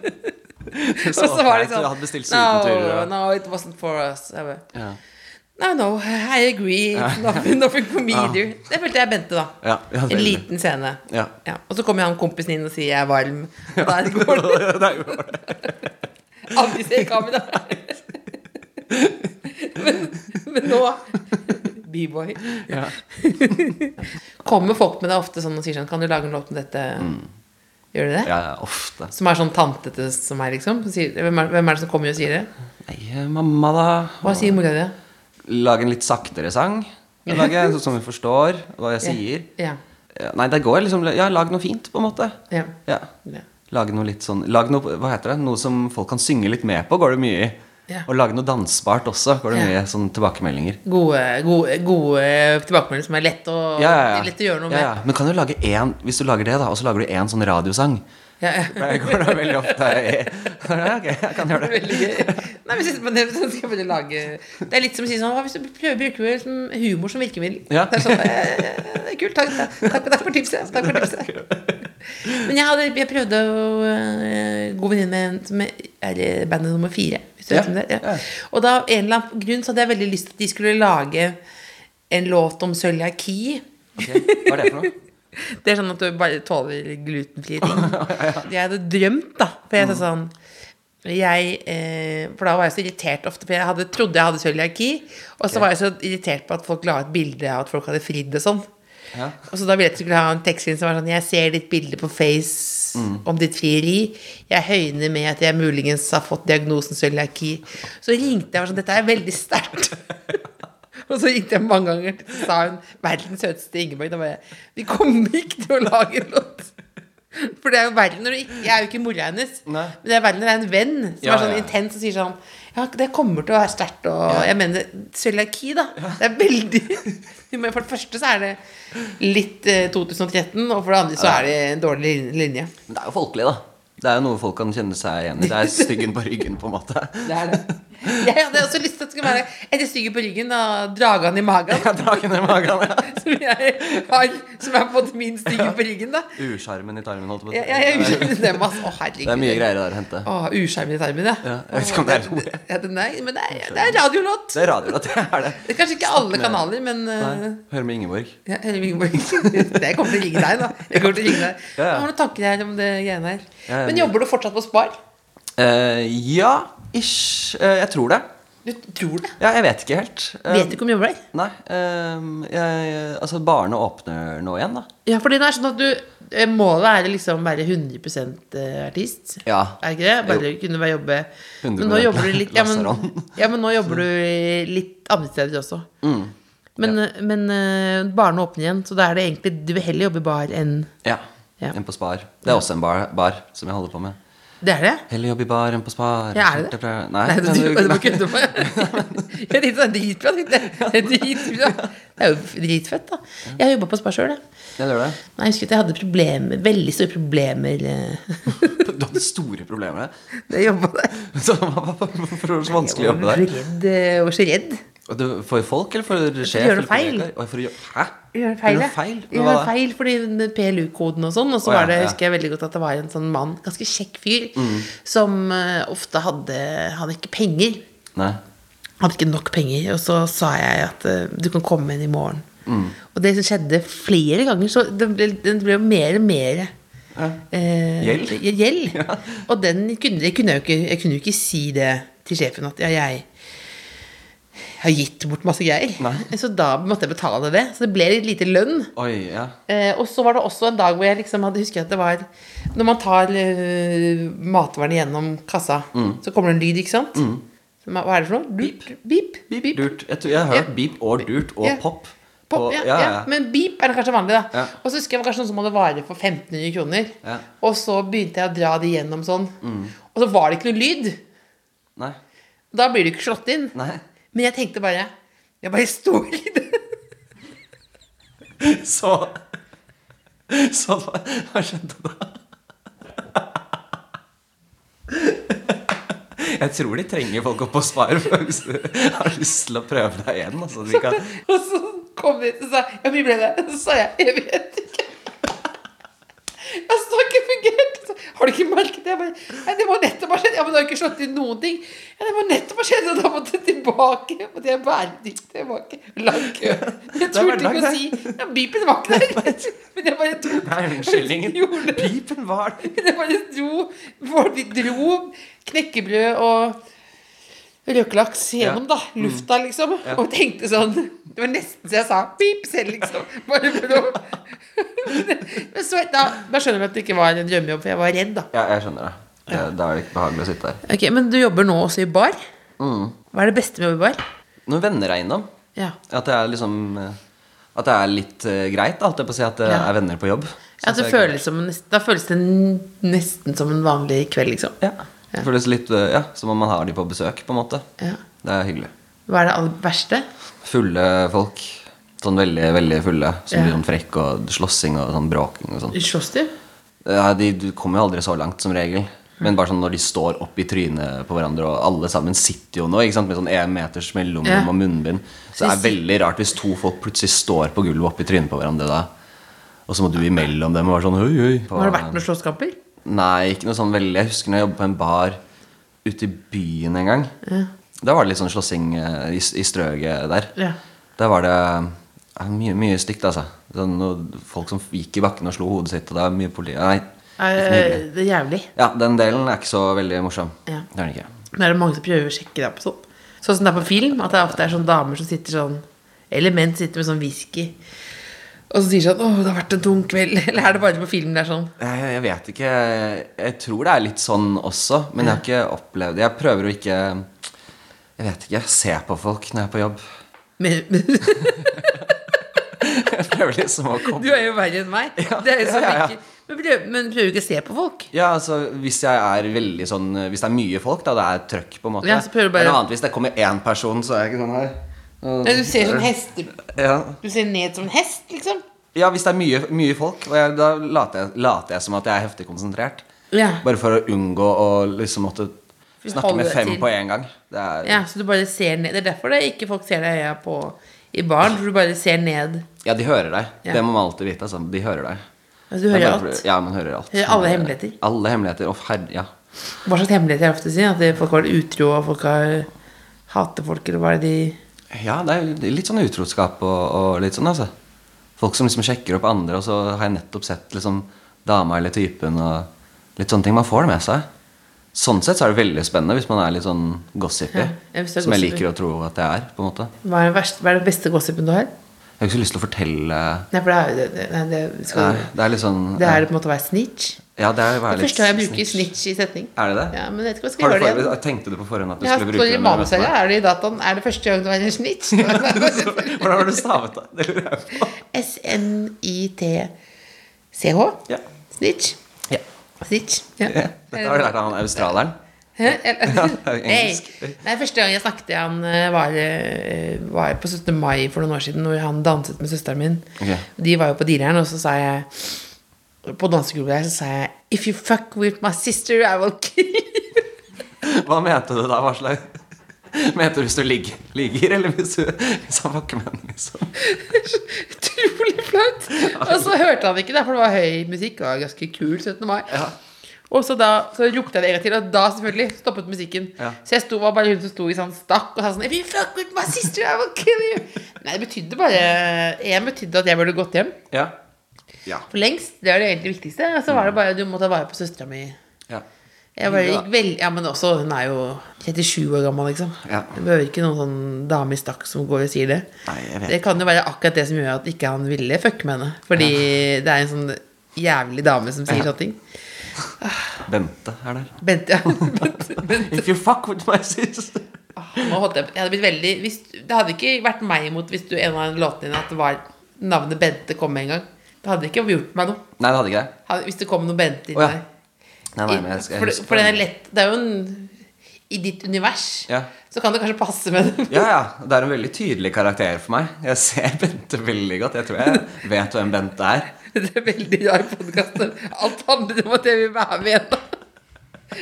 Speaker 5: Så,
Speaker 3: og så var det
Speaker 5: Du
Speaker 3: sånn
Speaker 5: hadde bestilt sydenturer.
Speaker 3: No,
Speaker 5: og-
Speaker 3: no, it wasn't for us. Jeg bare,
Speaker 5: Ja.
Speaker 3: No, no, I agree. It's nothing, nothing for me, du. Det følte jeg Bente, da.
Speaker 5: Ja, ja,
Speaker 3: En
Speaker 5: Ah. veldig.
Speaker 3: liten scene.
Speaker 5: Ja.
Speaker 3: Og så kommer han kompisen inn og sier 'jeg er varm'. Og der går det.
Speaker 5: Nei, men-
Speaker 3: Aldri se i kamera. men, men nå B-boy.
Speaker 5: Ja.
Speaker 3: Kommer folk med deg ofte sånn og sier sånn Kan du lage en låt om dette? Gjør du det?
Speaker 5: Mm. ja, ja, ofte.
Speaker 3: Som er sånn tantete som meg, liksom? som Sier, hvem, er, hvem er det som kommer og sier det?
Speaker 5: Nei, mamma, da.
Speaker 3: Hva sier mora di?
Speaker 5: Lage en litt saktere sang. Lage, så- som vi forstår hva jeg sier.
Speaker 3: Ja.
Speaker 5: Ja, Nei, det går liksom Ja, lag noe fint, på en måte.
Speaker 3: Ja.
Speaker 5: Ja.
Speaker 3: Ja.
Speaker 5: Lage noe litt sånn Lag noe, hva heter det? Noe som folk kan synge litt med på, går det mye i.
Speaker 3: Ja.
Speaker 5: Og lage noe dansbart også, går det
Speaker 3: Ja.
Speaker 5: mye sånn tilbakemeldinger.
Speaker 3: Gode, gode, gode tilbakemeldinger som er lett å,
Speaker 5: Ja, ja, ja.
Speaker 3: lett å gjøre noe
Speaker 5: ja, ja. Men kan du lage én Hvis du lager det, da, og så lager du én sånn radiosang
Speaker 3: med. Ja, ja.
Speaker 5: Det går da veldig ofte i Ja, Ok, jeg kan gjøre det.
Speaker 3: Veldig gøy. Nei, men jeg synes man- det, så skal jeg bare lage. det er litt som å si sånn «Hva Hvis du prøver å bruke liksom, humor som virkemiddel
Speaker 5: Ja.
Speaker 3: Det er sånn eh, Det er kult. Takk, takk, takk for tipset. Takk for tipset. Men jeg, hadde, jeg prøvde å eh, God venninne med en som er i bandet nummer fire. Hvis du
Speaker 5: Ja.
Speaker 3: vet om det, er. ja.
Speaker 5: Ja.
Speaker 3: Og da, av en eller annen grunn så hadde jeg veldig lyst til at de skulle lage en låt om cøliaki.
Speaker 5: Ok, Hva er det for noe?
Speaker 3: Det er sånn at du bare tåler glutenfrie ting. Jeg hadde drømt, da. For jeg sa sånn jeg, eh, For da var jeg så irritert ofte, for jeg hadde, trodde jeg hadde cøliaki. Og så var jeg så irritert på at folk la ut bilde av at folk hadde fridd og sånn.
Speaker 5: Ja.
Speaker 3: Og så da ville jeg at jeg skulle ha en tekstlinje som var sånn Jeg ser ditt bilde på Face om ditt frieri. Jeg høyner med at jeg muligens har fått diagnosen cøliaki. Så ringte jeg og var sånn Dette er veldig sterkt. Og så ringte jeg mange ganger, så sa hun verdens søteste Ingeborg. Da bare Vi kommer ikke til å lage en låt. For det er jo verre når du ikke Jeg er jo ikke mora hennes,
Speaker 5: Nei.
Speaker 3: men det er verre når det er en venn som
Speaker 5: Ja,
Speaker 3: er sånn
Speaker 5: ja.
Speaker 3: intens og sier sånn Ja, det kommer til å være sterkt, og Jeg mener cøliaki, da. Det er veldig Men For det første så er det litt eh, 2013, og for det andre så er det en dårlig lin- linje.
Speaker 5: Men det er jo folkelig, da. Det er jo noe folk kan kjenne seg igjen i. Det er styggen på ryggen, på en måte.
Speaker 3: Det er det. Jeg hadde også lyst til at det skulle være etter stygget på ryggen og dragen i magen.
Speaker 5: Ja, Dragen i magen, ja.
Speaker 3: Som jeg har Som er på en måte min stygge på ryggen, da.
Speaker 5: Usjarmen i tarmen, holdt jeg på å si.
Speaker 3: Jeg, jeg, jeg uskjermer dem, altså. Å, herregud.
Speaker 5: Det er mye greier der å hente.
Speaker 3: Å, uskjermen i tarmen,
Speaker 5: Ja, jeg vet ikke om det er ordet.
Speaker 3: Ja, den er, men det er, det er radiolåt.
Speaker 5: Det er radio, det er det.
Speaker 3: Det er kanskje ikke alle kanaler, men
Speaker 5: Nei,
Speaker 3: eh,
Speaker 5: Hør med Ingeborg.
Speaker 3: ja, eller Ingeborg. Jeg kommer til å ringe deg, da. Jeg kommer til å ringe deg.
Speaker 5: Ja, ja.
Speaker 3: Har du noen tanker her om det greiene her?
Speaker 5: Ja, ja.
Speaker 3: Men jobber du fortsatt på Spar?
Speaker 5: Eh, ja, ish. Eh, jeg tror det.
Speaker 3: Du tror det?
Speaker 5: Ja, jeg vet ikke helt. Eh,
Speaker 3: Vet du ikke om jobber der?
Speaker 5: Nei. eh, jeg, altså, barene åpner nå igjen, da.
Speaker 3: Ja, for det er sånn at du eh, Målet er liksom å være 100 artist.
Speaker 5: Ja.
Speaker 3: Er ikke det? Bare kunne bare jobbe Men nå
Speaker 5: 100%
Speaker 3: jobber du litt ja, men,
Speaker 5: Lasaron.
Speaker 3: ja, men nå jobber du litt andre steder også.
Speaker 5: Mm.
Speaker 3: Men, eh, men eh, barene åpner igjen, så da er det egentlig Du vil heller jobbe i bar enn
Speaker 5: Ja.
Speaker 3: Ja.
Speaker 5: En på Spar. Det er også en bar, bar som jeg holder på med.
Speaker 3: Det er det?
Speaker 5: Heller jobb i bar enn på Spar.
Speaker 3: Ja, er det det?
Speaker 5: Skjorte fra-
Speaker 3: Nei,
Speaker 5: Nei,
Speaker 3: det, du, du må kødde med Jeg tenkte sånn dritbra. tenkte jeg. Dritbra. Det er jo dritfett, da. Jeg har jobba på Spar sjøl, jeg.
Speaker 5: Ja, det gjør det.
Speaker 3: Nei, Jeg husker at jeg hadde problemer, veldig store problemer eh,
Speaker 5: Du hadde store problemer der.
Speaker 3: da jeg jobba der.
Speaker 5: Så Hvorfor var det så vanskelig å jobbe der?
Speaker 3: Jeg var redd, eh, Jeg var så redd.
Speaker 5: Og du, for folk, eller for sjef?
Speaker 3: gjøre
Speaker 5: eller for
Speaker 3: feil.
Speaker 5: kollegaer? Oi, For å gjøre Hæ?
Speaker 3: Gjør feil,
Speaker 5: Gjorde
Speaker 3: ja.
Speaker 5: du feil? Hva
Speaker 3: Gjør
Speaker 5: var det?
Speaker 3: feil fordi PLU-koden og sånn. Og så
Speaker 5: Å, ja,
Speaker 3: var det,
Speaker 5: ja. Mm.
Speaker 3: husker jeg veldig godt at det var en sånn mann, ganske kjekk fyr, som eh, ofte hadde Han hadde ikke penger.
Speaker 5: Nei.
Speaker 3: Han hadde ikke nok penger. Og så sa jeg at eh, du kan komme inn i morgen.
Speaker 5: Mm.
Speaker 3: Og det som skjedde flere ganger, så det ble, det ble jo mer og mer eh,
Speaker 5: Gjeld?
Speaker 3: gjeld. Og den kunne, det kunne jeg, jo ikke, jeg kunne jo ikke si det til sjefen at ja, jeg har gitt bort masse greier.
Speaker 5: Nei.
Speaker 3: Så da måtte jeg betale det. Så det ble litt lite lønn.
Speaker 5: Oi, ja.
Speaker 3: Eh, og så var det også en dag hvor jeg liksom hadde husket at det var Når man tar eh, matvarene gjennom kassa,
Speaker 5: Mm.
Speaker 3: så kommer det en lyd, ikke sant? Så ma- Hva er det for noe? Durt, beep,
Speaker 5: Beep,
Speaker 3: beep.
Speaker 5: durt. Jeg, tror, jeg har hørt
Speaker 3: Ja.
Speaker 5: beep og durt og
Speaker 3: Ja.
Speaker 5: pop.
Speaker 3: Pop,
Speaker 5: Og-
Speaker 3: ja, ja. Men beep er det kanskje vanlig, da.
Speaker 5: Ja.
Speaker 3: Og så husker jeg det var kanskje noen som hadde varer for 1500 kroner.
Speaker 5: Ja. Mm.
Speaker 3: Og så begynte jeg å dra de gjennom sånn. Og så var det ikke noe lyd.
Speaker 5: Nei.
Speaker 3: Da blir du ikke slått inn.
Speaker 5: Nei.
Speaker 3: Men jeg tenkte bare Jeg bare står i det.
Speaker 5: Så Så hva hva skjedde da? Jeg tror de trenger folk opp på spar hvis du har lyst til å prøve deg igjen. Altså, vi kan...
Speaker 3: Og så kom de og sa Ja, vi ble det. Så sa jeg Jeg vet ikke. Altså, det har ikke fungert. Så, Har du ikke merket det? Jeg bare, Nei, det må nettopp ha skjedd. Ja, men du har ikke slått inn noen ting. Ja, det må nettopp ha skjedd, og da måtte jeg tilbake. Måtte jeg bære de tilbake. Lang kø. Jeg
Speaker 5: Det er
Speaker 3: turte ikke
Speaker 5: hverdag,
Speaker 3: å si Ja, beepen var ikke der. Men jeg bare tok
Speaker 5: Nei, unnskyld. ingen- Pipen var der.
Speaker 3: det bare dro, folk de dro knekkebrød og røkelaks gjennom da, lufta,
Speaker 5: Mm.
Speaker 3: liksom. Og tenkte sånn Det var nesten så jeg sa pip selv, liksom. Bare for å Men så, da, da skjønner vi at det ikke var en drømmejobb, for jeg var redd, da.
Speaker 5: Ja, jeg skjønner det. Det- Da er det ikke behagelig å sitte der.
Speaker 3: Ok, Men du jobber nå også i bar.
Speaker 5: Mm.
Speaker 3: Hva er det beste med å jobbe i bar?
Speaker 5: Når venner er innom
Speaker 3: Ja.
Speaker 5: At det er liksom eh, At det er litt eh, greit, da, holdt jeg på å si, at det
Speaker 3: Ja.
Speaker 5: er venner på jobb.
Speaker 3: At det
Speaker 5: Synes jeg er
Speaker 3: føles som en, da føles det nesten som en vanlig kveld, liksom.
Speaker 5: Ja. Det føles litt eh, ja, som om man har de på besøk, på en måte.
Speaker 3: Ja.
Speaker 5: Det er hyggelig.
Speaker 3: Hva er det aller verste?
Speaker 5: Fulle folk. Sånn veldig, veldig fulle. Som
Speaker 3: Ja.
Speaker 5: blir sånn frekk og slåssing og sånn bråking og sånn.
Speaker 3: Slåss du?
Speaker 5: Ja, de du kommer jo aldri så langt, som regel. Men bare sånn når de står opp i trynet på hverandre, og alle sammen sitter jo nå ikke sant? med sånn én meters mellomrom
Speaker 3: Ja.
Speaker 5: og munnbind. Så det er
Speaker 3: de
Speaker 5: veldig rart hvis to folk plutselig står på gulvet opp i trynet på hverandre da. Og så må du imellom dem og være sånn høy, høy. på-
Speaker 3: Har det vært noen slåsskamper?
Speaker 5: Nei, ikke noe sånn veldig. Jeg husker når jeg jobbet på en bar ute i byen en gang. Da var det litt sånn slåssing eh, i, i strøget der.
Speaker 3: Ja.
Speaker 5: Der var det eh, mye, mye stygt, altså. Sånn, noe- folk som gikk i bakken og slo hodet sitt, og det var mye politi... Nei. ikke noe hyggelig.
Speaker 3: Eh, Det er jævlig.
Speaker 5: Ja, den delen er ikke så veldig morsom.
Speaker 3: Ja.
Speaker 5: Det er den ikke.
Speaker 3: Men er det mange som prøver å sjekke deg på sånn? Sånn som det er på film, at det ofte er sånne damer som sitter sånn Eller menn sitter med sånn whisky og så sier sånn 'Å, det har vært en tung kveld.' Eller er det bare på film det er sånn?
Speaker 5: Jeg, jeg vet ikke Jeg tror det er litt sånn også, men jeg har ikke opplevd Jeg prøver å ikke Jeg vet ikke. Se på folk når jeg er på jobb.
Speaker 3: Men, men
Speaker 5: Jeg prøver liksom å komme
Speaker 3: du er jo verre enn meg. Det er jo så
Speaker 5: ja, ja, ja.
Speaker 3: ikke- Men prøver, men prøver ikke å se på folk.
Speaker 5: Ja, altså hvis jeg er veldig sånn Hvis det er mye folk, da, det er trøkk, på en måte.
Speaker 3: Ja, så prøver du bare-
Speaker 5: Det er noe annet hvis det kommer én person, så er jeg ikke sånn her. Og-
Speaker 3: Nei, du ser sånn hester
Speaker 5: Ja,
Speaker 3: Du ser ned som en hest, liksom.
Speaker 5: ja hvis det er mye, mye folk, og jeg, da later jeg, later jeg som at jeg er heftig konsentrert.
Speaker 3: Ja.
Speaker 5: Bare for å unngå å liksom måtte snakke
Speaker 3: Holde
Speaker 5: med
Speaker 3: deg
Speaker 5: fem
Speaker 3: til.
Speaker 5: på en gang. Det er, ja.
Speaker 3: Ja, Så du bare ser ned. Det er derfor det ikke folk ser deg i øya på i baren. For du bare ser ned.
Speaker 5: de hører deg.
Speaker 3: Ja.
Speaker 5: Det må man alltid vite. Altså. De hører deg.
Speaker 3: Altså, du
Speaker 5: Det er
Speaker 3: hører
Speaker 5: bare-
Speaker 3: alt.
Speaker 5: Ja, man hører alt.
Speaker 3: Hører alle hemmeligheter.
Speaker 5: Alle hemmeligheter. Å, herre... Ja.
Speaker 3: Hva slags hemmeligheter er det ofte å si? At folk har vært utro, og folk har hater folk, eller hva er det de
Speaker 5: Ja, det er litt sånn utroskap og, og litt sånn, altså. Folk som liksom sjekker opp andre, og så har jeg nettopp sett liksom dama eller typen og litt sånne ting. Man får det med seg. Sånn sett så er det veldig spennende hvis man er litt sånn gossipy.
Speaker 3: Ja, hvis du er
Speaker 5: som jeg
Speaker 3: gossipy.
Speaker 5: liker å tro at jeg er. på en måte
Speaker 3: Hva er, den verste, hva er den beste gossipen du har?
Speaker 5: Jeg har ikke så lyst til å fortelle
Speaker 3: Nei, for det er jo det, det, nei, det, skal,
Speaker 5: Nei, det er litt sånn
Speaker 3: det er på en måte å være snitch.
Speaker 5: Ja, det er å være
Speaker 3: Det
Speaker 5: litt
Speaker 3: første gang jeg bruker snitch i setning.
Speaker 5: Er det det?
Speaker 3: Ja, men jeg vet ikke hva jeg skal
Speaker 5: Har du
Speaker 3: gjøre det igjen.
Speaker 5: forberedt- Tenkte du på forhånd at du
Speaker 3: Ja,
Speaker 5: skulle
Speaker 3: står
Speaker 5: bruke
Speaker 3: det i
Speaker 5: den? når du møter
Speaker 3: manuset,
Speaker 5: meg?
Speaker 3: er det i dataen? Er det første gang du er en snitch?
Speaker 5: Hvordan har du stavet det? Det lurer jeg på.
Speaker 3: S-N-I-T-C-H?
Speaker 5: Ja.
Speaker 3: Snitch?
Speaker 5: Ja.
Speaker 3: Snitch. Ja.
Speaker 5: Ja. Dette har du lært av han australieren.
Speaker 3: Hæ? Eller-
Speaker 5: Ja,
Speaker 3: Nei.
Speaker 5: engelsk.
Speaker 3: Nei, første gang jeg snakket til han eh, var, eh, var på 17. mai for noen år siden, hvor han danset med søsteren min.
Speaker 5: Ok.
Speaker 3: De var jo på Direren, og så sa jeg På dansegulvet der så sa jeg If you fuck with my sister, I will kill you.
Speaker 5: Hva mente du da? Hva slags Mente du hvis du ligger, ligger eller hvis du hvis han fucker med henne? Liksom?
Speaker 3: Utrolig flaut. Og så hørte han ikke det, for det var høy musikk. Og det var ganske kul 17. mai. Og så da så ropte jeg det en gang til, og da selvfølgelig stoppet musikken.
Speaker 5: Ja.
Speaker 3: Så jeg sto, var bare hun som sto i sånn stakk og sa sånn If you fuck with my sister, I will kill you. Nei, det betydde bare Jeg betydde at jeg burde gått hjem
Speaker 5: Ja.
Speaker 3: for lengst. Det var det egentlig viktigste. Og så var det bare du må ta vare på søstera mi.
Speaker 5: ja.
Speaker 3: Jeg bare
Speaker 5: Ja.
Speaker 3: gikk vel, ja, men også, Hun er jo 37 år gammel, liksom.
Speaker 5: Ja.
Speaker 3: Det behøver ikke noen sånn dame i stakk som går og sier det.
Speaker 5: Nei, jeg vet.
Speaker 3: Det kan jo være akkurat det som gjør at ikke han ville fucke med henne. Fordi det er en sånn jævlig dame som sier sånne ting.
Speaker 5: Bente er der.
Speaker 3: Bente, ja. Bente, Bente.
Speaker 5: If you fuck with my sister
Speaker 3: Nå holdt jeg, jeg hadde blitt veldig hvis, Det hadde ikke vært meg imot hvis du en av låtene dine at det var navnet Bente kom med en gang. Det hadde ikke gjort meg noe.
Speaker 5: Nei, det hadde ikke jeg.
Speaker 3: Hadde- Hvis det kom noe Bente inn
Speaker 5: Å, ja.
Speaker 3: der.
Speaker 5: Nei, nei, men jeg skal,
Speaker 3: for,
Speaker 5: jeg husker
Speaker 3: for den er
Speaker 5: det.
Speaker 3: lett Det er jo en I ditt univers
Speaker 5: Ja.
Speaker 3: så kan det kanskje passe med den.
Speaker 5: Ja, ja. Det er en veldig tydelig karakter for meg. Jeg ser Bente veldig godt. Jeg tror jeg vet hvem Bente er.
Speaker 3: Det er veldig rar podkast. Alt handler om at jeg vil være med igjen.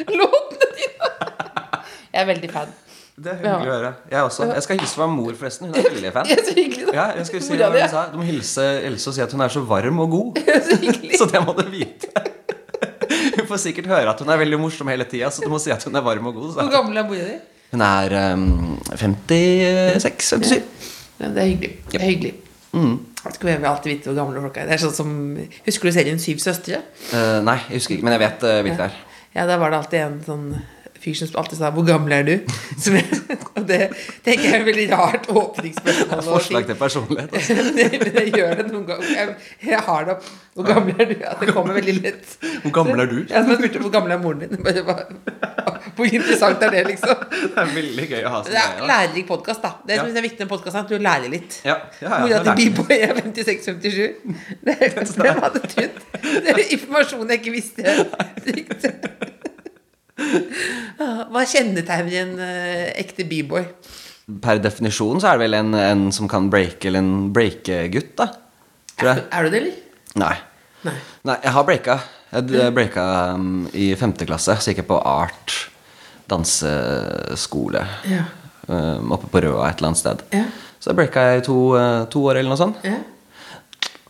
Speaker 3: Låtene dine! Jeg er veldig fan.
Speaker 5: Det er hyggelig å høre. Jeg også. Jeg skal hilse fra mor, forresten. Hun er veldig fan.
Speaker 3: Jeg er så hyggelig, da.
Speaker 5: Ja, jeg skal si
Speaker 3: Mora
Speaker 5: hva
Speaker 3: di
Speaker 5: hun
Speaker 3: er
Speaker 5: sa. Du må hilse Else og si at hun er så varm og god.
Speaker 3: så hyggelig.
Speaker 5: Så det må du vite. Hun får sikkert høre at hun er veldig morsom hele tida, så du må si at hun er varm og god.
Speaker 3: Hvor
Speaker 5: Så.
Speaker 3: gammel er mora di?
Speaker 5: Hun er um, 56-57.
Speaker 3: Ja, det er hyggelig. Det er hyggelig.
Speaker 5: Mm.
Speaker 3: Jeg skulle gjerne alltid vite hvor gamle folk er. Det er sånn som, Husker du serien Syv søstre?
Speaker 5: Eh, nei, jeg husker ikke, men jeg vet uh, hvilket det er.
Speaker 3: Ja, der var det alltid en sånn fyr som alltid sa 'Hvor gammel er du?' Som jeg, og det tenker jeg er et veldig rart åpningsspørsmål. å si.
Speaker 5: Forslag til personlighet. Altså.
Speaker 3: det, men jeg gjør det noen ganger. Jeg, jeg har det opp. Hvor gammel er du? At det kommer veldig lett.
Speaker 5: Hvor gammel er du?
Speaker 3: Ja, men jeg spurte hvor gammel er moren din? Bare, hva- hvor interessant er det, liksom?
Speaker 5: Det er veldig gøy å ha som
Speaker 3: Det er
Speaker 5: greie. da.
Speaker 3: lærerik podkast, da. Det
Speaker 5: Ja.
Speaker 3: som er viktig med podkast, er at du lærer litt.
Speaker 5: Ja, ja, ja,
Speaker 3: Mora
Speaker 5: det Sånn
Speaker 3: til
Speaker 5: lærte jeg.
Speaker 3: Biboy er 56-57. Det er hvem hadde trodd? Det er informasjon jeg ikke visste jeg trykte. Ah, Hva kjennetegner en eh, ekte Biboy?
Speaker 5: Per definisjon så er det vel en, en som kan breake, eller en breake-gutt, da. Tror jeg.
Speaker 3: Er du det, eller?
Speaker 5: Nei.
Speaker 3: Nei.
Speaker 5: Nei, jeg har breaka. Jeg d- breaka um, i femte klasse. Så gikk jeg på art danseskole
Speaker 3: Ja.
Speaker 5: um, oppe på Røa et eller annet sted.
Speaker 3: Ja.
Speaker 5: Så breaka jeg i to, uh, to år eller noe sånt.
Speaker 3: Ja.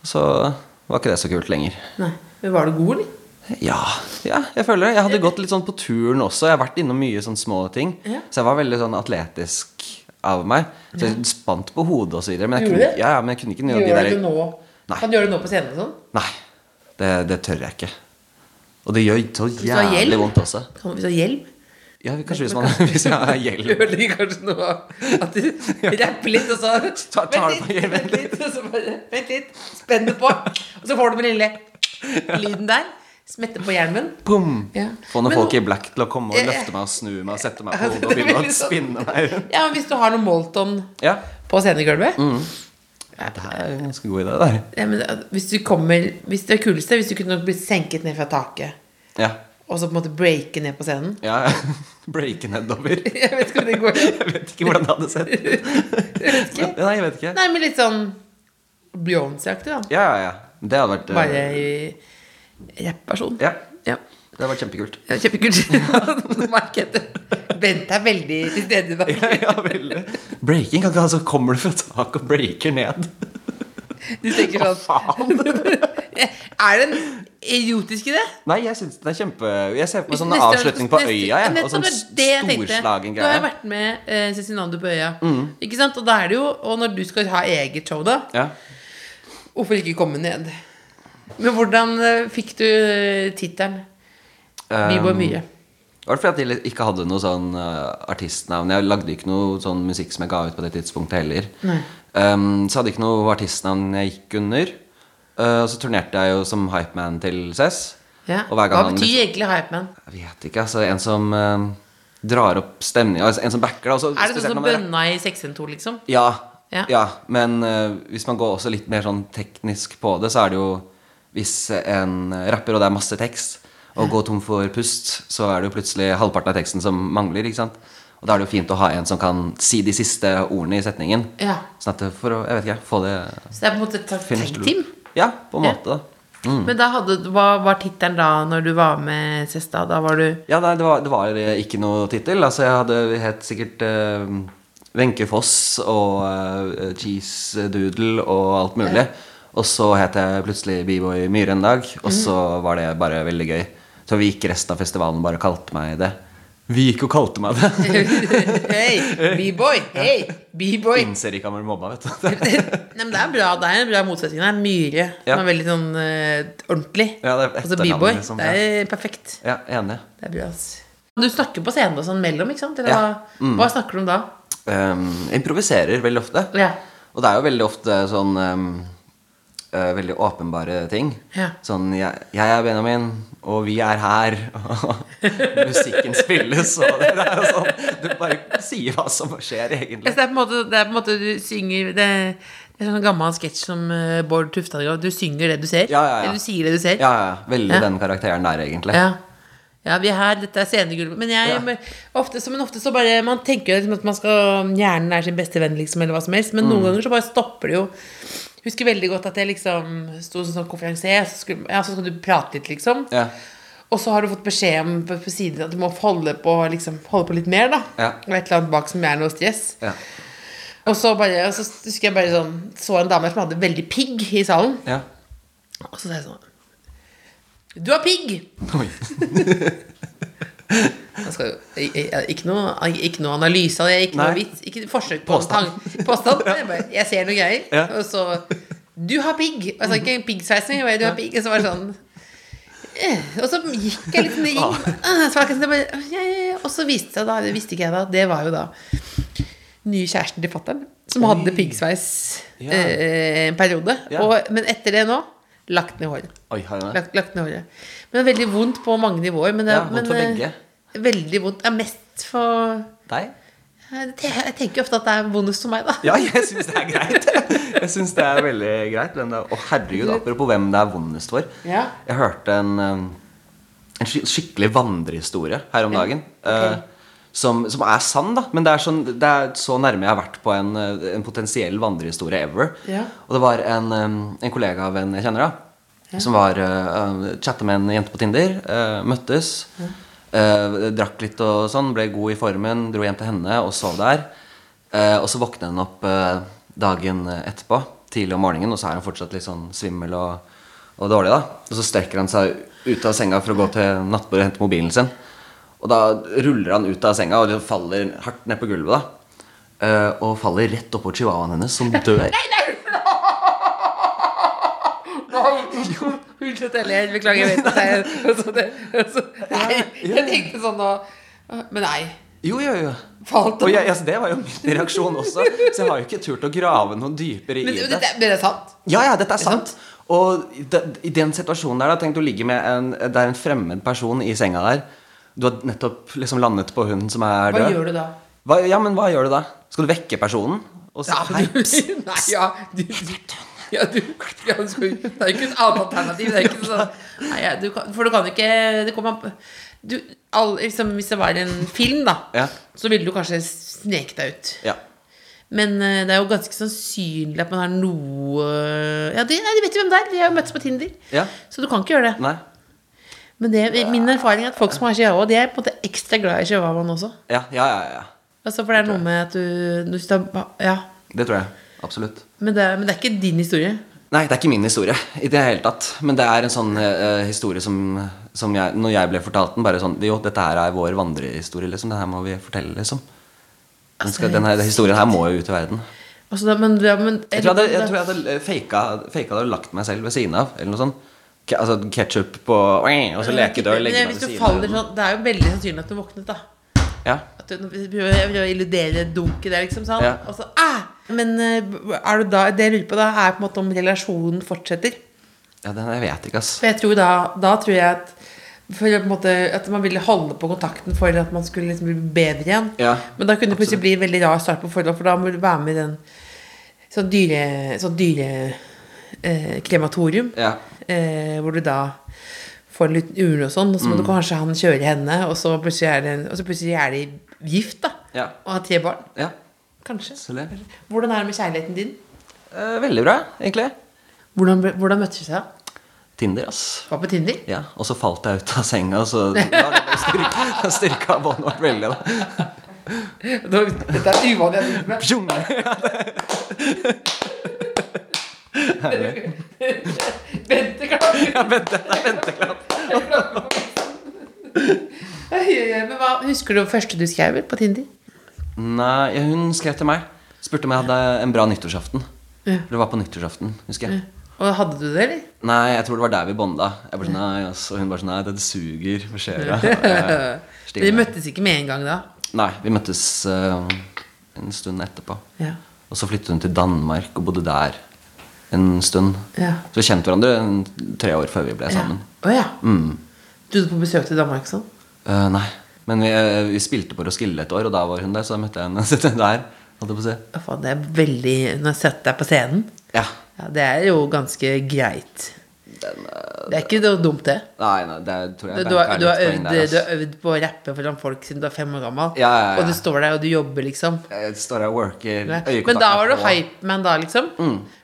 Speaker 5: Så var ikke det så kult lenger.
Speaker 3: Nei. Men var du god, eller?
Speaker 5: Ja, ja, jeg føler det. Jeg hadde gått litt sånn på turen også. Jeg har vært innom mye sånn små ting.
Speaker 3: Ja.
Speaker 5: Så jeg var veldig sånn atletisk av meg. Så jeg spant på hodet og så videre. Men jeg
Speaker 3: Gjorde
Speaker 5: kunne,
Speaker 3: det?
Speaker 5: ja, ja, men jeg kunne ikke
Speaker 3: Gjør
Speaker 5: gjøre de
Speaker 3: det
Speaker 5: der
Speaker 3: nå?
Speaker 5: Nei.
Speaker 3: Kan du gjøre det nå på scenen og sånn?
Speaker 5: Nei, det, det tør jeg ikke. Og det gjør så
Speaker 3: du har
Speaker 5: jævlig
Speaker 3: hjelm?
Speaker 5: vondt også.
Speaker 3: Kan vi ta hjelm?
Speaker 5: Ja, kanskje hvis, man, hvis jeg har
Speaker 3: Du
Speaker 5: hjelm.
Speaker 3: Ødelegger kanskje noe av at du rapper litt, og så
Speaker 5: Ta- tar
Speaker 3: Vent
Speaker 5: det på
Speaker 3: litt,
Speaker 5: hjelmen.
Speaker 3: vent litt, og så bare Vent litt, spenn det på, og så får du den lille lyden der. Smette på hjelmen.
Speaker 5: Boom!
Speaker 3: Ja.
Speaker 5: Få noen
Speaker 3: Men
Speaker 5: folk
Speaker 3: nå-
Speaker 5: i black til å komme og
Speaker 3: Ja, ja.
Speaker 5: løfte meg og snu meg og sette meg
Speaker 3: Ja,
Speaker 5: på hodet og
Speaker 3: det er
Speaker 5: begynne
Speaker 3: veldig
Speaker 5: å
Speaker 3: sånn.
Speaker 5: spinne meg rundt.
Speaker 3: Ja, men hvis du har noe Molton
Speaker 5: Ja. Mm.
Speaker 3: på scenegulvet
Speaker 5: ja, det her er en ganske god idé, det der.
Speaker 3: ja, men eh, Hvis du kommer Hvis det er kuleste Hvis du kunne blitt senket ned fra taket,
Speaker 5: Ja.
Speaker 3: og så på en måte breake ned på scenen
Speaker 5: ja. Breake nedover.
Speaker 3: Jeg vet ikke om det går.
Speaker 5: Jeg vet ikke hvordan det hadde sett ut.
Speaker 3: ikke.
Speaker 5: Men- Nei, jeg vet ikke.
Speaker 3: Nei, men litt sånn Beyoncé-aktig, da.
Speaker 5: Ja, ja, ja. Det hadde vært eh,
Speaker 3: Bare i rapperson.
Speaker 5: Ja.
Speaker 3: ja.
Speaker 5: Det hadde vært kjempekult.
Speaker 3: Ja, Kjempekult. Nå merket jeg det. Bente er veldig til stede i dag.
Speaker 5: Ja, ja, veldig. Breaking kan ikke altså Kommer du fra taket og breaker ned?
Speaker 3: Du tenker sånn Er det en erotisk idé?
Speaker 5: Nei, jeg syns det er kjempe Jeg ser på meg sånn
Speaker 3: Neste gang-
Speaker 5: avslutning på
Speaker 3: neste-
Speaker 5: øya,
Speaker 3: Ja,
Speaker 5: jeg. Og
Speaker 3: nettopp,
Speaker 5: sånn
Speaker 3: det jeg tenkte.
Speaker 5: storslagen
Speaker 3: Du har jo
Speaker 5: greie. Mm.
Speaker 3: vært med eh, Cezinando på øya. Ikke sant? Og da er det jo Og når du skal ha eget show, da,
Speaker 5: Ja.
Speaker 3: hvorfor ikke komme ned?
Speaker 5: Um,
Speaker 3: Men hvordan eh, fikk du eh, tittelen? Vi går mye.
Speaker 5: Var det fordi at jeg ikke hadde noe sånn eh, artistnavn? Jeg lagde ikke noe sånn musikk som jeg ga ut på det tidspunktet heller. Um, så hadde jeg ikke noe artistnavn jeg gikk under. Eh, og så turnerte jeg jo som hypeman til Cess.
Speaker 3: Ja.
Speaker 5: Og hver gang
Speaker 3: Hva
Speaker 5: han
Speaker 3: betyr
Speaker 5: liksom-
Speaker 3: egentlig hypeman?
Speaker 5: Jeg vet ikke, altså. En som eh, drar opp stemninga. Altså, en som backer, da. også
Speaker 3: Er det
Speaker 5: spesielt
Speaker 3: sånn
Speaker 5: når
Speaker 3: som
Speaker 5: man er-
Speaker 3: bønna i 612, liksom?
Speaker 5: Ja.
Speaker 3: Ja.
Speaker 5: ja. men eh, hvis man går også litt mer sånn teknisk på det, så er det jo Hvis en rapper, og det er masse tekst, og går tom for pust, så er det jo plutselig halvparten av teksten som mangler. ikke sant? Og da er det jo fint å ha en som kan si de siste ordene i setningen.
Speaker 3: Ja.
Speaker 5: Sånn at det- for å, jeg vet ikke, få det
Speaker 3: Så det er på en måte et
Speaker 5: finished loop.
Speaker 3: tag-team?
Speaker 5: Ja, på en
Speaker 3: Ja.
Speaker 5: måte. da.
Speaker 3: Men da hadde, hva var tittelen da, når du var med Sesta? Da var du
Speaker 5: Ja, nei, det var, det var eh, ikke noe tittel. Altså, jeg hadde helt sikkert eh, Wenche Foss og eh, Cheese Doodle og alt mulig. Og så het jeg plutselig B-boy Myhre en dag, og så var det bare veldig gøy. Så vi gikk resten av festivalen og bare kalte meg det. Vi gikk og kalte meg det.
Speaker 3: Hei, B-boy! Hei, B-boy!
Speaker 5: Innser ikke at man blir mobba, vet du.
Speaker 3: Nei, men det er bra, det er en bra motsetning. Det er myre,
Speaker 5: Ja.
Speaker 3: som er veldig sånn eh, ordentlig.
Speaker 5: Ja, det er
Speaker 3: Og så
Speaker 5: etternavnet,
Speaker 3: B-boy.
Speaker 5: liksom,
Speaker 3: Det er perfekt.
Speaker 5: Ja, enig.
Speaker 3: Det er bra, ass. Du snakker på scenen og sånn mellom, ikke sant? Eller
Speaker 5: Ja. Mm.
Speaker 3: hva, hva snakker du om da?
Speaker 5: Ehm, improviserer veldig ofte.
Speaker 3: Ja.
Speaker 5: Og det er jo veldig ofte sånn ehm, eh, Veldig åpenbare ting.
Speaker 3: Ja.
Speaker 5: Sånn jeg, 'Jeg er Benjamin, og vi er her', og musikken spilles, og det er jo sånn Du bare sier hva som skjer,
Speaker 3: Ja,
Speaker 5: egentlig.
Speaker 3: så Det er på en måte, det er på en måte du synger Det, det er sånn gammel sketsj som eh, Bård Tufte hadde. Du synger det du ser.
Speaker 5: Ja, ja, ja.
Speaker 3: Eller du sier det du ser.
Speaker 5: Ja, ja. Veldig
Speaker 3: Ja.
Speaker 5: den karakteren der, egentlig.
Speaker 3: Ja. ja, vi er her, dette er scenegulvet. Men jeg,
Speaker 5: Ja.
Speaker 3: men ofte, så, men ofte så bare Man tenker jo liksom at man skal, hjernen er sin beste venn, liksom, eller hva som helst. Men
Speaker 5: Mm.
Speaker 3: noen ganger så bare stopper det jo. Jeg Husker veldig godt at jeg liksom sto som sånn konferansier, så, skulle- ja, så skal du prate litt, liksom.
Speaker 5: Ja.
Speaker 3: Og så har du fått beskjed om på, på siden at du må holde på, liksom, holde på litt mer, da.
Speaker 5: Ja.
Speaker 3: Og et eller annet bak som er noe stress.
Speaker 5: Ja.
Speaker 3: Og så bare, og så husker jeg bare sånn Så en dame som hadde veldig pigg i salen.
Speaker 5: ja.
Speaker 3: Og så sa jeg sånn Du har pigg!
Speaker 5: Oi.
Speaker 3: Jeg skal, jeg, jeg, ikke, noe, ikke noe analyse av det, ikke noe
Speaker 5: Nei.
Speaker 3: vits. Ikke forsøk på
Speaker 5: Påstand.
Speaker 3: påstand. påstand. Jeg, bare, jeg ser noen greier,
Speaker 5: Ja.
Speaker 3: og så Du har pigg! Og jeg sa ikke piggsveising, jeg bare du har pigg. Og så var det sånn eh, Og så gikk jeg litt ned i
Speaker 5: Ah.
Speaker 3: Ah, så var det akkurat som jeg bare, ja, ja, ja. Og så viste jeg da, det visste ikke jeg da, det var jo da nye kjæresten til fattern, som hadde piggsveis
Speaker 5: Ja.
Speaker 3: eh, en periode.
Speaker 5: Ja.
Speaker 3: Og, men etter det nå lagt ned håret.
Speaker 5: Oi, har jeg det?
Speaker 3: Lagt, lagt ned håret. Men det er veldig vondt på mange nivåer. Men det,
Speaker 5: Ja, vondt
Speaker 3: men,
Speaker 5: for begge.
Speaker 3: eh, Veldig vondt. Det er mest for
Speaker 5: Deg?
Speaker 3: Jeg te- jeg tenker jo ofte at det er vondest for meg, da.
Speaker 5: Ja, jeg syns det er greit. Jeg synes det er veldig greit hvem det er. Å, herregud, apropos hvem det er vondest for.
Speaker 3: Ja.
Speaker 5: Jeg hørte en, eh, en skik- skikkelig vandrehistorie her om dagen. eh, Som, som er sann, da. Men det er, sånn, det er så nærme jeg har vært på en, eh, en potensiell vandrehistorie ever.
Speaker 3: Ja.
Speaker 5: Og det var en, eh, en kollega av en jeg kjenner, da. Som var eh, eh, chatta med en jente på Tinder. eh, møttes. eh, drakk litt og sånn. Ble god i formen. Dro hjem til henne og sov der. Eh, og så våkner hun opp eh, dagen etterpå, tidlig om morgenen, og så er hun fortsatt litt sånn svimmel og, og dårlig. da Og så strekker han seg ut av senga for å gå til nattbordet og hente mobilen sin. Og da ruller han ut av senga og liksom faller hardt ned på gulvet. da Eh, Og faller rett oppå chihuahuaen hennes, som dør.
Speaker 3: Unnskyld at jeg ler. Beklager, jeg vet at jeg altså, det, altså, Nei, jeg tenkte sånn nå Men nei.
Speaker 5: Jo, jo, jo.
Speaker 3: Falt
Speaker 5: Og jeg, altså, det var jo min reaksjon også, så jeg har jo ikke turt å grave noe dypere i
Speaker 3: Men
Speaker 5: det.
Speaker 3: det, men det er sant?
Speaker 5: Ja, ja, dette er sant. Og i de- i den situasjonen der, da, tenk du ligger med en, det er en fremmed person i senga der. Du har nettopp liksom landet på hun som er
Speaker 3: Hva
Speaker 5: død.
Speaker 3: gjør du da?
Speaker 5: Hva, ja, men hva gjør du da? Skal du vekke personen? Og så, hei,
Speaker 3: du, nei, ja, du, du, ja, du, ja, du skal, Det er jo ikke et annet alternativ. Det er jo ikke sånn, nei, ja, du kan, for du kan jo ikke det kommer an på- du, all, liksom, Hvis det var en film, da,
Speaker 5: Ja.
Speaker 3: så ville du kanskje sneket deg ut.
Speaker 5: Ja.
Speaker 3: Men eh, det er jo ganske sannsynlig at man har noe Ja, de, nei, de vet jo hvem det er. De har jo møttes på Tinder.
Speaker 5: Ja.
Speaker 3: Så du kan ikke gjøre det.
Speaker 5: Nei.
Speaker 3: Men det, min erfaring er at folk som har chihuahua, de er på en måte ekstra glad i chihuahuaen også.
Speaker 5: Ja, ja, ja, ja.
Speaker 3: Altså, for det er noe med at du, du Ja.
Speaker 5: Det tror jeg. Absolutt.
Speaker 3: Men det, er- men det er ikke din historie.
Speaker 5: Nei, det er ikke min historie i det hele tatt. Men det er en sånn eh, historie som, som jeg, når jeg ble fortalt den, bare sånn Jo, dette her er vår vandrehistorie, liksom. Det her må vi fortelle, liksom. Den, skal, den her, historien her må jo ut i verden.
Speaker 3: Altså, da, men, ja, men,
Speaker 5: Jeg tror jeg hadde, jeg tror jeg hadde eh, faka, faka det og lagt meg selv ved siden av, eller noe sånt. ke- altså, ketchup på Og så leke det og legge
Speaker 3: Men
Speaker 5: meg
Speaker 3: Hvis
Speaker 5: ved
Speaker 3: du
Speaker 5: siden
Speaker 3: faller
Speaker 5: av.
Speaker 3: sånn Det er jo veldig sannsynlig at du våknet, da.
Speaker 5: Ja.
Speaker 3: At du prøver prøver å illudere dunket der, liksom. Sånn.
Speaker 5: Ja.
Speaker 3: Og så, ah! Men eh, er du da, det jeg lurer på da, er på en måte om relasjonen fortsetter.
Speaker 5: ja, den jeg vet ikke, ass.
Speaker 3: For jeg tror da, da tror jeg at for å på en måte, at man ville holde på kontakten for at man skulle liksom bli bedre igjen.
Speaker 5: Ja,
Speaker 3: Men da kunne det plutselig bli en veldig rar start på forhold, for da må du være med i den sånn dyre, sånn dyre eh, krematorium.
Speaker 5: Ja.
Speaker 3: Eh, hvor du da får en liten urne og sånn, og så
Speaker 5: Mm.
Speaker 3: må du kanskje han kjøre henne, og så plutselig er, det, og så plutselig er de gift, da.
Speaker 5: Ja.
Speaker 3: Og har tre barn.
Speaker 5: Ja.
Speaker 3: Kanskje.
Speaker 5: Så det-
Speaker 3: Hvordan er det med kjærligheten din?
Speaker 5: Eh, veldig bra, egentlig.
Speaker 3: Hvordan, ble- hvordan møttes dere?
Speaker 5: Tinder, ass.
Speaker 3: Var på Tinder?
Speaker 5: Ja, Og så falt jeg ut av senga, og så da har det bare styrka, styrka av båndet vårt veldig. da
Speaker 3: Da- Dette er uvanlig jeg driver med.
Speaker 5: Pjong!
Speaker 3: Vente, klager.
Speaker 5: Ja, vent, det er venteklapp.
Speaker 3: Oi, oi, oi, Men hva, husker du det første du skrev på Tinder?
Speaker 5: Nei, ja, hun skrev til meg. Spurte om jeg hadde en bra nyttårsaften.
Speaker 3: Ja.
Speaker 5: For Det var på nyttårsaften, husker jeg.
Speaker 3: Og hadde du det, eller?
Speaker 5: Nei, jeg tror det var der vi bonda. Jeg bare sånn, nei, ass. Og hun bare sånn Nei, det suger. Hva skjer? da? Og jeg-
Speaker 3: Dere
Speaker 5: Stille.
Speaker 3: møttes ikke med en gang da?
Speaker 5: Nei, vi møttes eh, en stund etterpå.
Speaker 3: Ja.
Speaker 5: Og så flyttet hun til Danmark og bodde der en stund.
Speaker 3: Ja.
Speaker 5: Så vi kjente hverandre en- tre år før vi ble sammen. Mm.
Speaker 3: Å ja. Du var på besøk til Danmark sånn?
Speaker 5: Eh, nei. Men vi, eh, vi spilte på Roskilde et år, og da var hun der, så da møtte jeg henne der. Holdt jeg på å si.
Speaker 3: Å, faen, det er veldig Når jeg setter deg på scenen
Speaker 5: Ja.
Speaker 3: ja, Det er jo ganske greit. det er ikke noe dumt, det.
Speaker 5: Nei, nei, det tror
Speaker 3: Du,
Speaker 5: jeg
Speaker 3: du, har,
Speaker 5: Benke
Speaker 3: du, har
Speaker 5: litt poeng der, ass.
Speaker 3: øvd, du har øvd på å rappe foran folk siden du er fem år gammel,
Speaker 5: Ja, ja, ja.
Speaker 3: og du står der og du jobber, liksom.
Speaker 5: Jeg står her og worker øyekontakt
Speaker 3: Men da var du
Speaker 5: på-
Speaker 3: hypeman, da, liksom?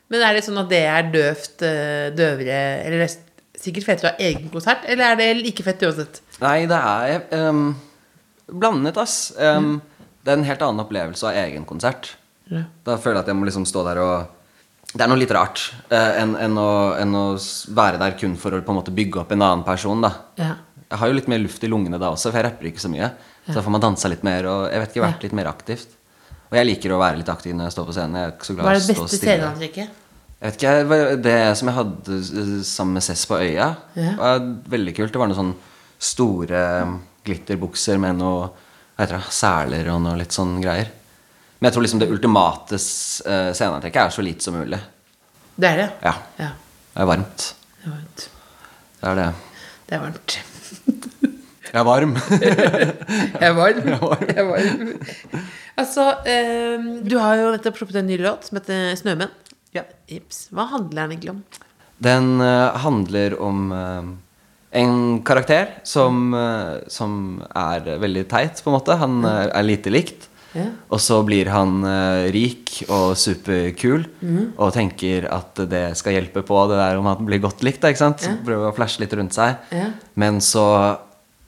Speaker 3: Men er det sånn at det er døvt, eh, døvere Eller det er sikkert fetere å ha egen konsert, eller er det like fett uansett?
Speaker 5: Nei, det er ehm, blandet, ass. Ehm, Det er en helt annen opplevelse av egen konsert.
Speaker 3: Ja.
Speaker 5: Da føler jeg at jeg må liksom stå der og Det er noe litt rart eh, enn enn å, enn å s- være der kun for å på en måte bygge opp en annen person, da.
Speaker 3: Ja.
Speaker 5: Jeg har jo litt mer luft i lungene da også, for jeg rapper ikke så mye. Så da får man dansa litt mer og jeg vet ikke, vært litt mer aktivt. Og jeg liker å være litt aktiv når jeg står på scenen. Jeg er ikke så glad
Speaker 3: Hva
Speaker 5: i
Speaker 3: er
Speaker 5: å
Speaker 3: det
Speaker 5: stå
Speaker 3: beste
Speaker 5: stille.
Speaker 3: sceneantrekket?
Speaker 5: Jeg vet ikke, jeg var- Det som jeg hadde eh, sammen med Cess på Øya,
Speaker 3: Ja.
Speaker 5: var veldig kult. Det var noen sånne store um, glitterbukser med noe hva heter det, seler og noe litt sånn greier. Men jeg tror liksom det ultimate s- eh, sceneantrekket er så lite som mulig.
Speaker 3: Det er det?
Speaker 5: Ja.
Speaker 3: ja.
Speaker 5: Det er varmt.
Speaker 3: Det er varmt.
Speaker 5: Det er det.
Speaker 3: Det er varmt.
Speaker 5: Jeg er varm.
Speaker 3: Jeg er varm. Jeg er varm. Altså, eh, du har jo nettopp sluppet en ny låt som heter 'Snømenn'.
Speaker 5: Ja.
Speaker 3: Ips. Hva handler den egentlig om?
Speaker 5: Den eh, handler om eh, en karakter som, eh, som er veldig teit, på en måte. Han eh, er lite likt.
Speaker 3: Ja.
Speaker 5: Og så blir han eh, rik og superkul
Speaker 3: Mhm.
Speaker 5: og tenker at det skal hjelpe på det der om han blir godt likt. Da, ikke sant? Prøver å flashe litt rundt seg.
Speaker 3: Ja.
Speaker 5: Men så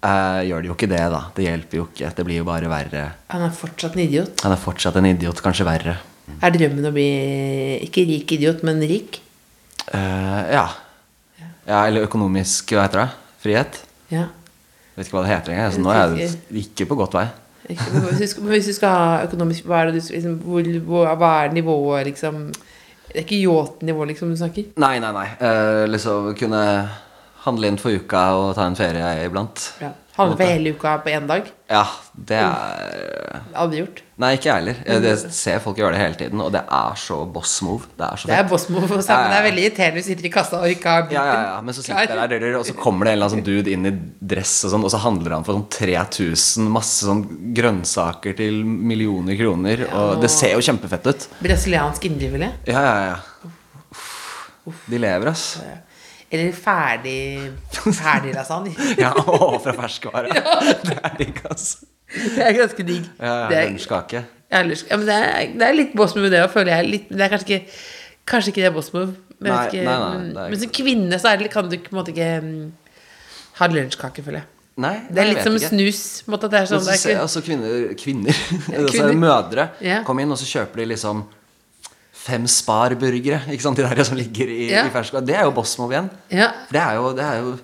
Speaker 5: eh, gjør det jo ikke det, da. Det hjelper jo ikke. Det blir jo bare verre.
Speaker 3: Han er fortsatt en idiot.
Speaker 5: Han er fortsatt en idiot, kanskje verre.
Speaker 3: Er drømmen å bli ikke rik idiot, men rik?
Speaker 5: Eh, ja. ja. Eller økonomisk, hva heter det? Frihet?
Speaker 3: Ja.
Speaker 5: Jeg vet ikke hva det heter engang. Så nå er jeg ikke på godt vei.
Speaker 3: Ikke- men Hvis du skal, men hvis du skal ha økonomisk Hva er, det du, skal- liksom, hvor, hvor, hva er nivået, liksom? Det er ikke yacht-nivå, liksom, du snakker?
Speaker 5: Nei, nei, nei. Eh, liksom kunne handle inn for uka og ta en ferie iblant.
Speaker 3: Ja. Handle for hele uka på én dag?
Speaker 5: Ja, det er
Speaker 3: Aldri gjort.
Speaker 5: Nei, ikke jeg heller. Jeg jeg ser folk gjøre det hele tiden, og det er så boss move. Det er så
Speaker 3: Det er
Speaker 5: fett.
Speaker 3: bossmove, men det
Speaker 5: Ja, ja.
Speaker 3: er veldig irriterende hvis du sitter i kassa og ikke har
Speaker 5: Ja, ja, ja, men så sitter jeg der, og så kommer det en eller annen sånn dude inn i dress, og sånn Og så handler han for sånn 3000, masse sånn grønnsaker til millioner kroner. Og det ser jo kjempefett ut.
Speaker 3: Brasiliansk indrefilet?
Speaker 5: Ja, ja, ja. Uff, De lever, ass.
Speaker 3: Eller ferdig Ferdig lasagne.
Speaker 5: Ja, å, fra ferskvare. Det er digg, ass.
Speaker 3: Det er ganske digg.
Speaker 5: Ja, ja,
Speaker 3: det, er,
Speaker 5: Lunsjkake.
Speaker 3: jeg er lyst- ja, men det, er, det er litt boss move, det å føle jeg er litt Det er kanskje ikke, kanskje ikke det er boss move. Men, jeg vet
Speaker 5: Nei,
Speaker 3: ikke,
Speaker 5: nei, nei, det
Speaker 3: men-
Speaker 5: er
Speaker 3: men
Speaker 5: ikke-
Speaker 3: som kvinne så er det, kan du ikke- på en måte ikke mm, ha lunsjkake, føler jeg.
Speaker 5: Nei,
Speaker 3: Det er
Speaker 5: jeg
Speaker 3: litt
Speaker 5: vet
Speaker 3: som
Speaker 5: ikke.
Speaker 3: snus. på en Måte, at det er
Speaker 5: Men
Speaker 3: sånn,
Speaker 5: så
Speaker 3: det er
Speaker 5: ser jeg altså,
Speaker 3: ikke,
Speaker 5: også kvinner, kvinner, altså
Speaker 3: Kvinner.
Speaker 5: mødre,
Speaker 3: Ja.
Speaker 5: komme inn og så kjøper de liksom fem Spar-burgere. Ikke sant, De der som ligger i,
Speaker 3: Ja.
Speaker 5: i ferskvare. Det er jo Bossmov igjen.
Speaker 3: Ja.
Speaker 5: For det er jo, det er jo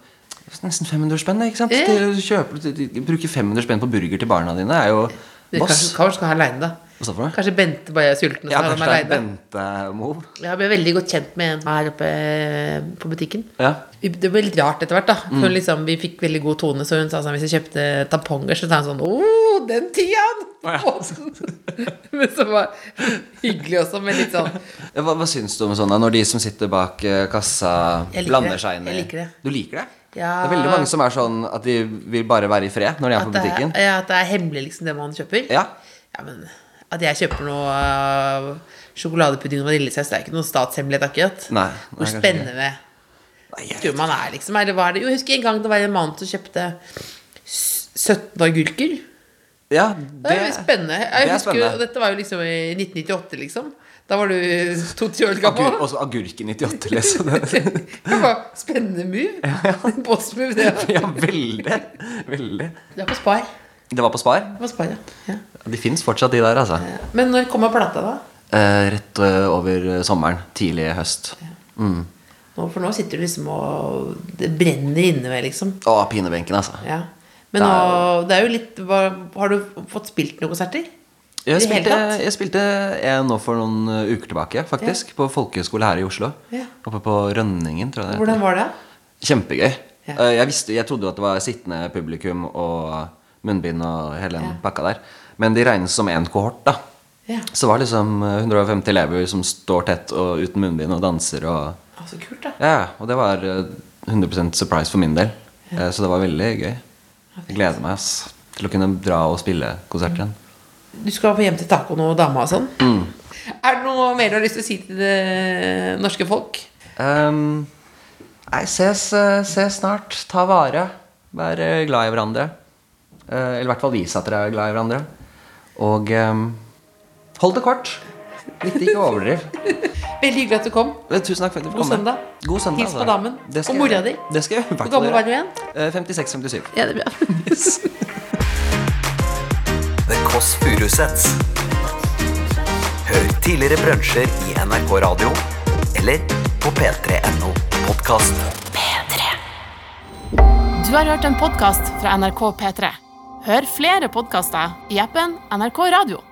Speaker 5: nesten 500 spenn, det, ikke sant?
Speaker 3: Ja.
Speaker 5: De kjøper, de, de, bruker 500 spenn på burger til barna dine. Det er jo
Speaker 3: Det- Kanskje,
Speaker 5: Boss.
Speaker 3: kanskje han er aleine, da.
Speaker 5: Hva sa du for noe?
Speaker 3: Kanskje Bente bare er sulten. Og så
Speaker 5: Ja,
Speaker 3: er han
Speaker 5: kanskje det er
Speaker 3: alene.
Speaker 5: Bente Mo.
Speaker 3: Jeg ble veldig godt kjent med en her oppe eh, på butikken.
Speaker 5: Ja. Mm.
Speaker 3: Det ble litt rart etter hvert, da. For liksom, vi fikk veldig god tone, så hun sa sånn Hvis jeg kjøpte tamponger, så sa hun sånn Å, den tian! men så var hyggelig også, men litt sånn
Speaker 5: Ja, Hva, hva syns du om sånn da, når de som sitter bak eh, kassa,
Speaker 3: Jeg liker
Speaker 5: blander
Speaker 3: det.
Speaker 5: seg inn i
Speaker 3: Jeg liker det.
Speaker 5: Du liker det?
Speaker 3: Ja.
Speaker 5: Det er veldig mange som er sånn at de vil bare være i fred når de er
Speaker 3: at
Speaker 5: på
Speaker 3: det er,
Speaker 5: butikken.
Speaker 3: ja, at det er hemmelig, liksom, det man kjøper.
Speaker 5: Ja.
Speaker 3: Ja, men at jeg kjøper noe uh, sjokoladepudding og vaniljesaus, det er ikke noen statshemmelighet, akkurat.
Speaker 5: Nei, nei,
Speaker 3: Hvor
Speaker 5: kanskje
Speaker 3: spennende
Speaker 5: Nei, jeg-
Speaker 3: tror man er, liksom. Eller hva er det? Jo, jeg husker en gang det var en mann som kjøpte s- 17 agurker.
Speaker 5: ja,
Speaker 3: Det er jo spennende. Jeg
Speaker 5: det er
Speaker 3: husker jo,
Speaker 5: spennende.
Speaker 3: og Dette var jo liksom i 1998, liksom. Da var du 22 år
Speaker 5: Agur,
Speaker 3: gammel.
Speaker 5: også agurken 98, liksom. Det-
Speaker 3: Det var spennende move. Boss-move, det.
Speaker 5: Ja, veldig. Veldig.
Speaker 3: Det er på Spar.
Speaker 5: Det var på Spar.
Speaker 3: Det var Spar, ja. ja.
Speaker 5: De fins fortsatt, de der, altså.
Speaker 3: Men når kommer plata, da?
Speaker 5: Eh, rett eh, over eh, sommeren. Tidlig høst.
Speaker 3: Nå, for nå sitter du liksom og Det brenner inne ved, liksom.
Speaker 5: Å, pinebenken, altså.
Speaker 3: Ja. Men
Speaker 5: Det er
Speaker 3: nå,
Speaker 5: jo-
Speaker 3: det er jo litt hva, Har du fått spilt noen konserter?
Speaker 5: Jeg eh,
Speaker 3: I det hele
Speaker 5: spilte,
Speaker 3: tatt?
Speaker 5: jeg spilte en nå for noen eh, uker tilbake, faktisk. På folkehøyskole her i Oslo.
Speaker 3: Ja.
Speaker 5: Oppe på Rønningen, tror jeg det
Speaker 3: Hvordan var det?
Speaker 5: Kjempegøy.
Speaker 3: Ja.
Speaker 5: Eh, Jeg, visste, jeg trodde jo at det var sittende publikum og munnbind og hele den pakka der. Men de regnes som én kohort, da.
Speaker 3: Ja.
Speaker 5: Så det var liksom eh, 150 elever som står tett og uten munnbind og danser og
Speaker 3: Å, Så kult, da.
Speaker 5: Ja, og det var eh, 100 surprise for min del. Eh, Så det var veldig gøy. Jeg gleder meg ass, til å kunne dra og spille konsert igjen.
Speaker 3: Du skal på hjem til tacoen og dama og sånn. Er det noe mer du har lyst til å si til det norske folk?
Speaker 5: Ehm, nei, ses, eh, ses snart. Ta vare. Vær eh, glad i hverandre. Eh, Eller i hvert fall vis at dere er glad i hverandre. Og ehm, hold det kort. Litt ikke overdriv.
Speaker 3: Veldig hyggelig at du kom.
Speaker 5: Men Tusen takk for at du
Speaker 3: God
Speaker 5: kom.
Speaker 3: søndag.
Speaker 5: God søndag
Speaker 3: Hils på
Speaker 5: altså.
Speaker 3: damen.
Speaker 5: Det skal
Speaker 3: Og mora
Speaker 5: jeg-
Speaker 3: di.
Speaker 5: Det skal jeg i hvert
Speaker 3: Hvor
Speaker 5: fall
Speaker 3: gammel
Speaker 5: gjøre.
Speaker 3: var du igjen?
Speaker 5: Eh, 56-57.
Speaker 3: Ja, det er bra.
Speaker 2: The Kåss Furuseths. Hør tidligere brunsjer i NRK Radio eller på p3.no podkast.
Speaker 1: Du har hørt en podkast fra NRK P3. Hør flere podkaster i appen NRK Radio.